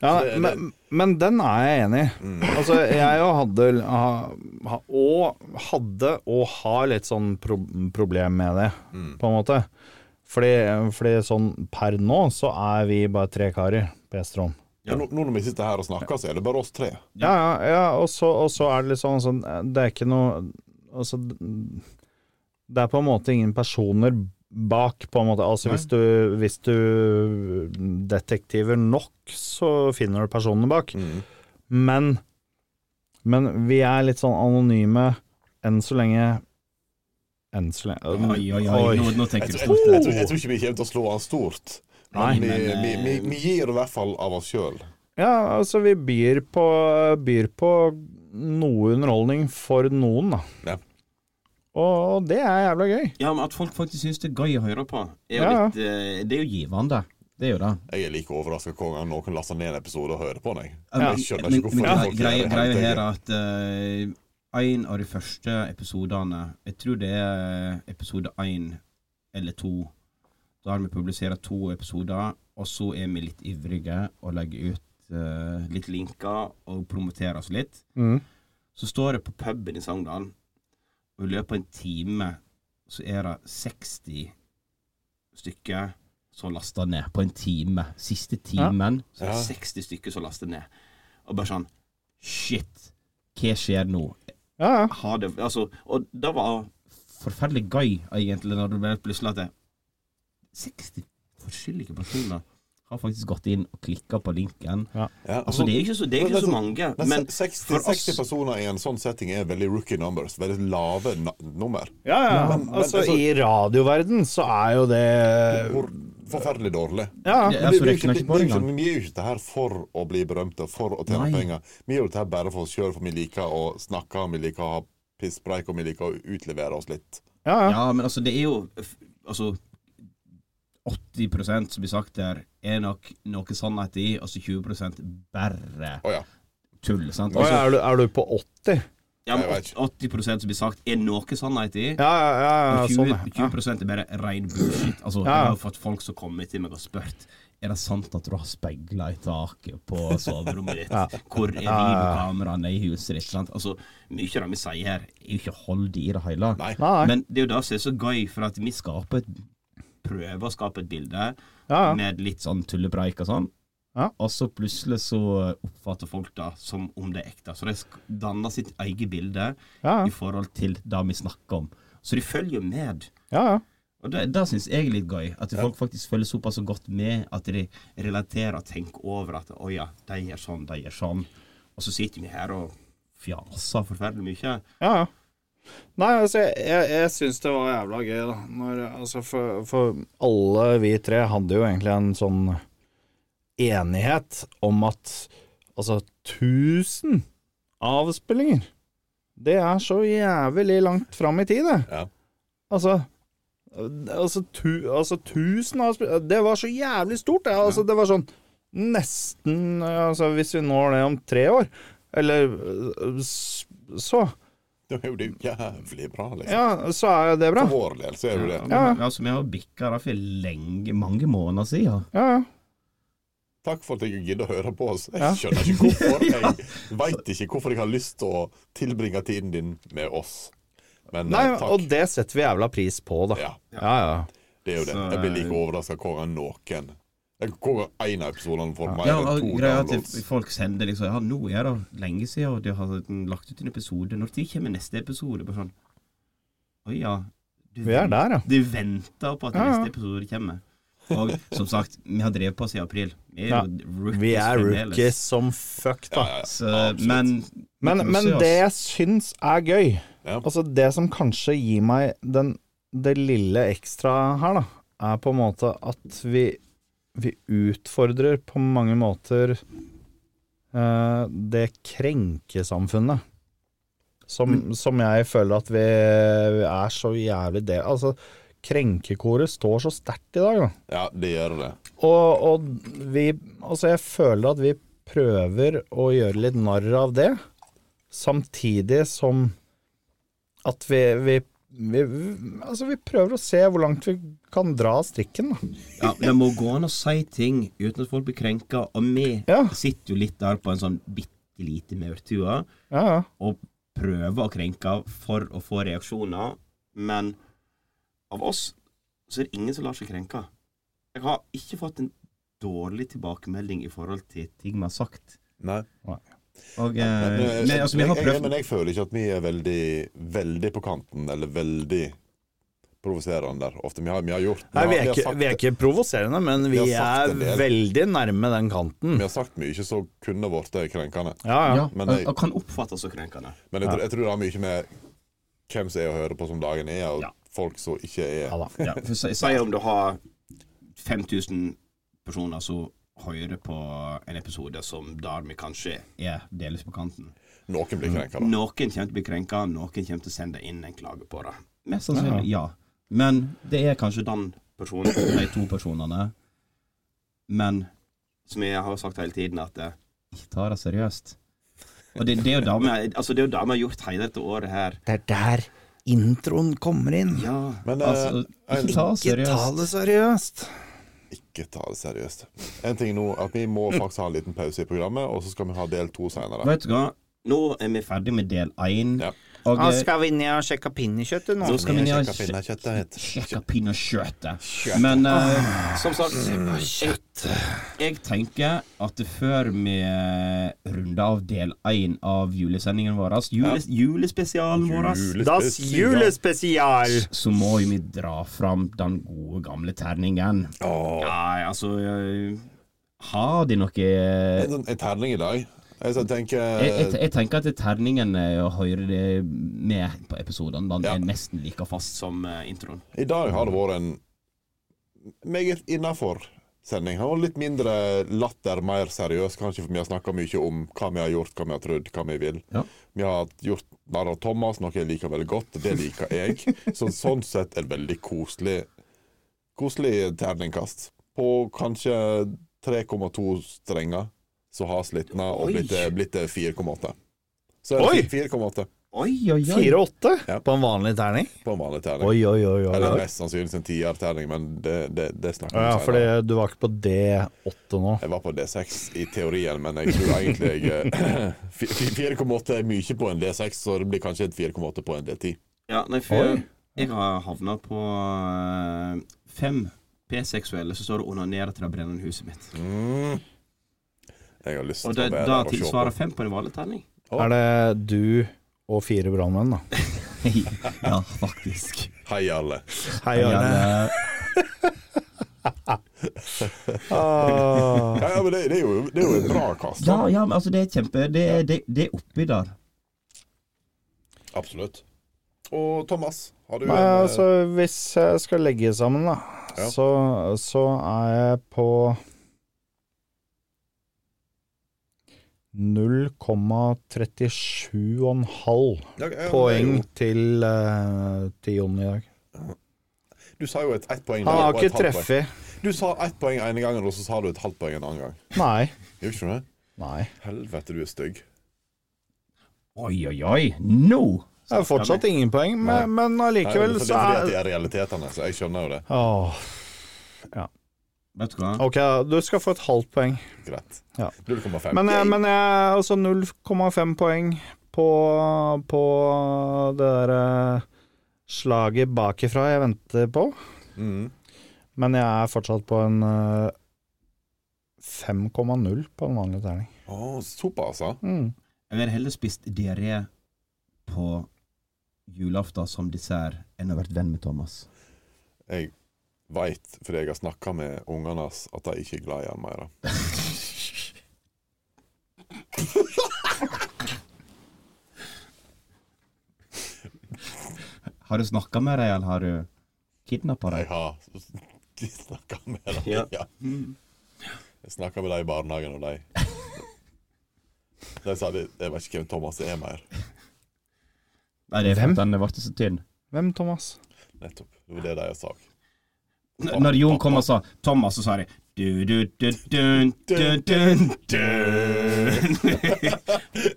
D: Ja,
C: det- Mm. det-
D: men, men den er jeg enig i. Altså, jeg jo hadde ha- ha- Og hadde og har litt sånn pro problem med det,
C: Mm.
D: på en måte. Fordi, fordi sånn per nå så er vi bare tre karer på Gjesterom.
C: Men nå, nå når vi sitter her og snakker, så er det bare oss tre.
D: Ja, ja, ja og, så, og så er det litt sånn sånn Det er ikke noe Altså Det er på en måte ingen personer bak, på en måte. Altså hvis du, hvis du detektiver nok, så finner du personene bak. Men Men vi er litt sånn anonyme enn så lenge Enn så lenge
H: Oi, oi, oi. Nå, nå
C: Jeg,
H: tenker du
C: tror- jeg,
H: stort.
C: jeg, tror- jeg tror ikke vi kommer til å slå han stort. Men vi,
B: Nei, men,
C: vi,
B: eh,
C: vi, vi gir i hvert fall av oss sjøl.
D: Ja, altså vi byr på, byr på noe underholdning for noen, da.
C: Ja.
D: Og det er jævla gøy.
B: Ja, men At folk faktisk syns det er gøy å høre på, er jo
D: Ja, ja.
B: litt eh, Det er jo givende.
H: Givende. Det er jo det.
C: Jeg er like overraska hver gang noen laster ned en episode og hører på den. jeg.
B: Ja.
C: Jeg skjønner
B: Men, men
C: ikke hvorfor
B: grei-
C: folk gjør
B: greia
C: det hele
B: greia
C: tiden.
B: her er at eh, en av de første episodene Jeg tror det er eh, episode én eller to. Da har vi publisert to episoder, og så er vi litt ivrige og legger ut eh, litt linker og promoterer oss litt. Så står jeg på puben i Sogndal, og i løpet av en time så er det 60 stykker som lasta ned på en time. Siste timen så er det 60 stykker som laster ned. Og bare sånn Shit, hva skjer nå?
D: Ja, ja.
B: Ha det Altså, og det var forferdelig gøy, egentlig, når det ble plutselig at det- 60 forskjellige personer har faktisk gått inn og klikka på linken.
C: Ja,
B: Altså, det er ikke så, det er ikke så mange,
C: Men,
B: men
C: 60,
B: for oss
C: 60 personer i en sånn setting er veldig rookie numbers. Veldig lave na- nummer.
D: ja, ja.
C: Men- men
D: altså,
C: altså-
D: I radioverden så er jo det
C: Hvor forferdelig dårlig.
B: Ja,
C: Eh,
D: Ja,
C: Men
B: altså,
C: det- det er
B: det
C: jo ikke-
B: knakker på
C: det er jo
B: engang.
C: ikke- Vi gjør jo ikke det her for å bli berømte, for å tjene
B: Nei.
C: penger. Vi gjør det her bare for oss sjøl, for vi liker å snakke, vi liker å ha pisspreik, og vi liker å utlevere oss litt.
D: ja, ja.
B: Ja, men altså, det er jo f- Altså, 80 som blir sagt der, er nok noe sånn sannhet i, og så 20 altså, bare
C: Å ja.
B: tull. sant?
D: Oi,
B: Altså,
D: er, du, er du på 80?
B: ja, men
C: jeg vet
B: 80 som blir sagt, er noe sannhet i.
D: Ja, ja, ja, ja
B: og 20,
D: sånn. ja.
B: 20 er bare rein bullshit. Altså,
D: Ja.
B: Jeg har jo fått folk som kommer til meg og spurt Er det sant at du har speila i taket på soverommet ditt. Hvor er videokameraene i huset ditt? Sant? Altså, Mye av det vi sier her, er jo ikke hold i det hele.
C: Nei.
D: Nei.
B: Men det er jo det som er så gøy, for at vi skaper et prøver å skape et bilde
D: Ja, ja.
B: med litt sånn tullepreik og sånn.
D: Ja.
B: Og så plutselig så oppfatter folk det som om det er ekte. Så de sk- danner sitt eget bilde
D: Ja,
B: i forhold til det vi snakker om. Så de følger med.
D: ja, ja.
B: Og det, det syns jeg er litt gøy. At folk faktisk følger såpass godt med at de relaterer og tenker over at å ja, de gjør sånn, de gjør sånn. Og så sitter vi her og fjaser forferdelig mye.
D: ja, ja.
I: Nei, altså, jeg, jeg, jeg syns det var jævla gøy, da. Når, altså, for, for
D: For alle vi tre hadde jo egentlig en sånn enighet om at altså 1000 avspillinger, det er så jævlig langt fram i tid, det.
C: Ja.
D: Altså Altså, tu, altså 1000 avspillinger Det var så jævlig stort, det. Altså, det var sånn nesten Altså, hvis vi når det om tre år, eller øh, s- så,
C: Det er jo det er jo jævlig bra, liksom.
D: ja, så er jo det bra.
C: For vår del så er det jo det.
D: Ja.
B: Altså, vi har bikka det for lenge, mange måneder siden.
D: Ja, ja.
C: Takk for at jeg gidder å høre på oss.
D: Ja.
C: Jeg skjønner ikke hvorfor. Jeg veit ikke hvorfor jeg har lyst til å tilbringe tiden din med oss. Men
D: Nei,
C: eh, takk.
D: og det setter vi jævla pris på, da.
C: Ja.
D: Ja, ja.
C: Det er jo det.
B: Så,
C: Jeg blir
B: eh,
C: like overraska hver gang noen Hver gang én av episodene får mer
B: Ja,
C: enn
B: og
C: to
B: greia er at
C: downloads.
B: folk sender liksom Ja, nå er det lenge siden, og de har lagt ut en episode. Når tid kommer neste episode? Bare sånn Å ja. Du,
D: Vi er der, ja.
B: Du venter på at
D: Ja, ja.
B: neste episode kommer. Og som sagt, vi har drevet på siden april. Vi er,
D: Ja.
B: jo rookies
D: Vi er
B: fremdeles.
D: rookies som fuck,
C: liksom.
D: da.
C: Ja, ja,
B: Så,
C: absolutt.
B: men
D: Men,
B: vi koser
D: men
B: oss.
D: det jeg syns er gøy,
C: Ja.
D: altså det som kanskje gir meg den, det lille ekstra her, da, er på en måte at vi, vi utfordrer på mange måter eh, det krenkesamfunnet. Som, som jeg føler at vi, vi er så jævlig del Altså, krenkekoret står så sterkt i dag, da.
C: ja, det gjør det.
D: Og, og vi Altså, jeg føler at vi prøver å gjøre litt narr av det, samtidig som at vi, vi, vi Altså, vi prøver å se hvor langt vi kan dra strikken, da.
B: ja, Det må gå an å si ting uten at folk blir krenka, og vi
D: Ja,
B: sitter jo litt der på en sånn bitte lite maurtue.
D: ja, ja.
B: og prøver å krenke for å få reaksjoner, men av oss så er det ingen som lar seg krenke. Jeg har ikke fått en dårlig tilbakemelding i forhold til ting vi har sagt.
C: Nei.
B: Og,
C: Men,
B: eh,
C: eh,
B: men, altså, vi har
C: jeg- jeg,
B: prøvd
C: men jeg føler ikke at vi er veldig, veldig på kanten, eller veldig provoserende der. Ofte vi har, vi har gjort vi
D: Nei,
C: har,
D: vi er,
C: har
D: ikke,
C: sagt-
D: vi er ikke provoserende, men vi
C: Vi har
D: er
C: sagt en del.
D: veldig nærme den kanten.
C: vi har sagt mye som kunne blitt krenkende.
D: Ja, ja.
B: ja,
C: men
B: og,
C: jeg-
B: og kan oppfattes som krenkende.
C: Men jeg, tror- jeg tror det har mye med hvem som er å høre på som dagen er, og
B: Ja.
C: folk som ikke er
D: ja da.
B: Ja, for si, si om du har 5000 personer som hører på en episode som der vi kanskje er delvis på kanten.
C: Noen blir krenka, da.
B: Noen kommer til å bli krenka, noen kommer til å sende inn en klage på det. Mest sannsynlig, ja. Men det er kanskje den personen, de to personene. Men som jeg har sagt hele tiden, at eh, ikke ta det seriøst. Og det, det er jo det vi altså, det er jo det vi har gjort hele dette året her.
D: Det er der introen kommer inn.
B: Ja,
C: Men, eh,
B: altså, ikke ta det
D: Ikke ta
B: seriøst.
D: det seriøst.
C: Ikke ta det seriøst. En ting nå, at vi må faktisk ha en liten pause i programmet, og så skal vi ha del to seinere.
B: Vet du hva, nå er vi ferdig med del én.
C: Ja.
B: Og eh,
J: skal vi ned og sjekke pinnekjøttet
B: nå skal vi ned og
C: Sjekka
B: sj-
C: pinnekjøttet
B: sjekke pinnekjøttet. Men eh, som sagt jeg, jeg tenker at før vi runder av del én av julesendingen vår, jule, julespesialen vår,
C: Das
J: julespesial!
B: så må jo vi dra fram den gode gamle terningen. Nei, altså eh, Har de noe jeg,
C: En terning i dag. Jeg så tenker
B: jeg, jeg tenker at terningen eh, å høre det med på episoden, den
C: Ja.
B: er nesten like fast som eh, introen.
C: I dag har det vært en meget innafor sending. Og litt mindre latter, mer seriøs, kanskje, for vi har snakka mye om hva vi har gjort, hva vi har trodd, hva vi vil.
B: Ja.
C: Vi har gjort narr av Thomas, noe jeg liker veldig godt, og det liker jeg. Så sånn sett en veldig koselig Koselig terningkast. På kanskje 3,2 strenger som har slitna og
B: Oi.
C: blitt, blitt 4,8. Så er det 4,8
B: Oi, oi, oi.
D: 4-8
C: Ja.
D: på en vanlig terning?
C: på en vanlig terning.
D: Oi, oi, oi. oi,
C: Eller
D: oi.
C: mest sannsynligvis en tierterning, men det, det, det snakker vi
D: Ja,
C: om
D: fordi
C: senere.
D: du var ikke på D8 nå.
C: Jeg var på D6 i teorien, men jeg tror egentlig jeg eh, fi- fi- 4,8 er mye på en D6, så det blir kanskje et 4,8 på en D10.
K: Ja, nei, for jeg, jeg har havna på eh, fem p-seksuelle som står og onanerer til det brennende huset mitt.
C: Jeg har lyst
K: Og
C: til
K: det
C: å være
K: da
C: der og se på.
K: tilsvarer fem på en vanlig terning.
D: Er det du og fire brannmenn, da?
B: ja, faktisk.
C: Hei, alle.
D: Hei, Arne.
B: Eh,
D: Ah.
C: Ja, ja, men det, det, er jo, det er jo et bra kast.
B: Ja,
C: da.
B: ja, men altså, det er kjempe Det er, det, det er oppi der.
C: Absolutt. Og Thomas, har du
D: Nei,
C: en, eh,
D: altså hvis jeg skal legge sammen, da,
C: Ja.
D: så, så er jeg på 0,37,5
C: ja, ja,
D: poeng
C: men det er
D: til, eh, til Jon i dag.
C: jo- Du sa jo et ett poeng.
D: Han
C: der,
D: har
C: og et
D: ikke
C: halvt poeng.
D: treffet.
C: Du sa ett poeng ene gangen, og så sa du et halvt poeng en annen gang.
D: Nei.
C: Gjorde ikke du det?
D: Nei.
C: Helvete, du er stygg.
B: Oi, oi, oi. Nå!
D: Det er fortsatt ingen poeng, men, men
C: Nei, for
D: allikevel
C: det er
D: så
C: fordi at
D: er
C: det er realitetene, så jeg skjønner jo det.
D: Åh,
K: Vet du hva?
D: Ok, du skal få et halvt poeng.
C: Greit.
D: Ja.
C: 0,5.
D: Men, jeg- men jeg Altså 0,5 poeng på, på det der eh, slaget bakifra jeg venter på.
C: Mm.
D: Men jeg er fortsatt på en eh, 5,0 på en vanlig terning.
C: Å, såpass, ja.
D: Mm.
B: Jeg ville heller spist diaré på julaften som dessert enn å vært venn med Thomas.
C: Jeg veit, fordi jeg har snakka med ungene hans, at de ikke er glad i han mer.
B: Har du snakka med dem, eller har du kidnappa
C: Jeg
B: dem?
C: har snakka med dem. Ja.
K: Ja.
C: Jeg snakka med dem i barnehagen, og de De sa de, jeg vet ikke hvem Thomas er mer.
B: Nei, det er
D: Hvem?
B: fordi den ble så tynn.
D: Hvem, Thomas?
C: Nettopp. Det var det de sa.
B: N- Når Jon kom og sa 'Thomas', så sa de du, du, du, dun, dun, dun, dun.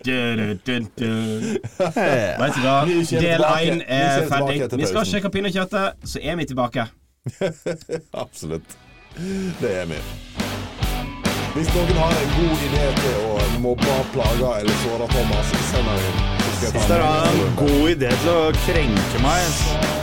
B: Du, du, dun, dun. Vet du hva?
C: Vi kommer
B: Del
C: tilbake.
B: én er
C: Vi kommer tilbake
B: ferdig.
C: etter
B: Vi skal
C: pausen.
B: sjekke pinnekjøttet, så er vi tilbake.
C: Absolutt. Det er vi. Hvis noen har en god idé til å mobbe, plage eller såre Thomas, send den inn. Så skal jeg ta den med.
D: god idé til å krenke meg.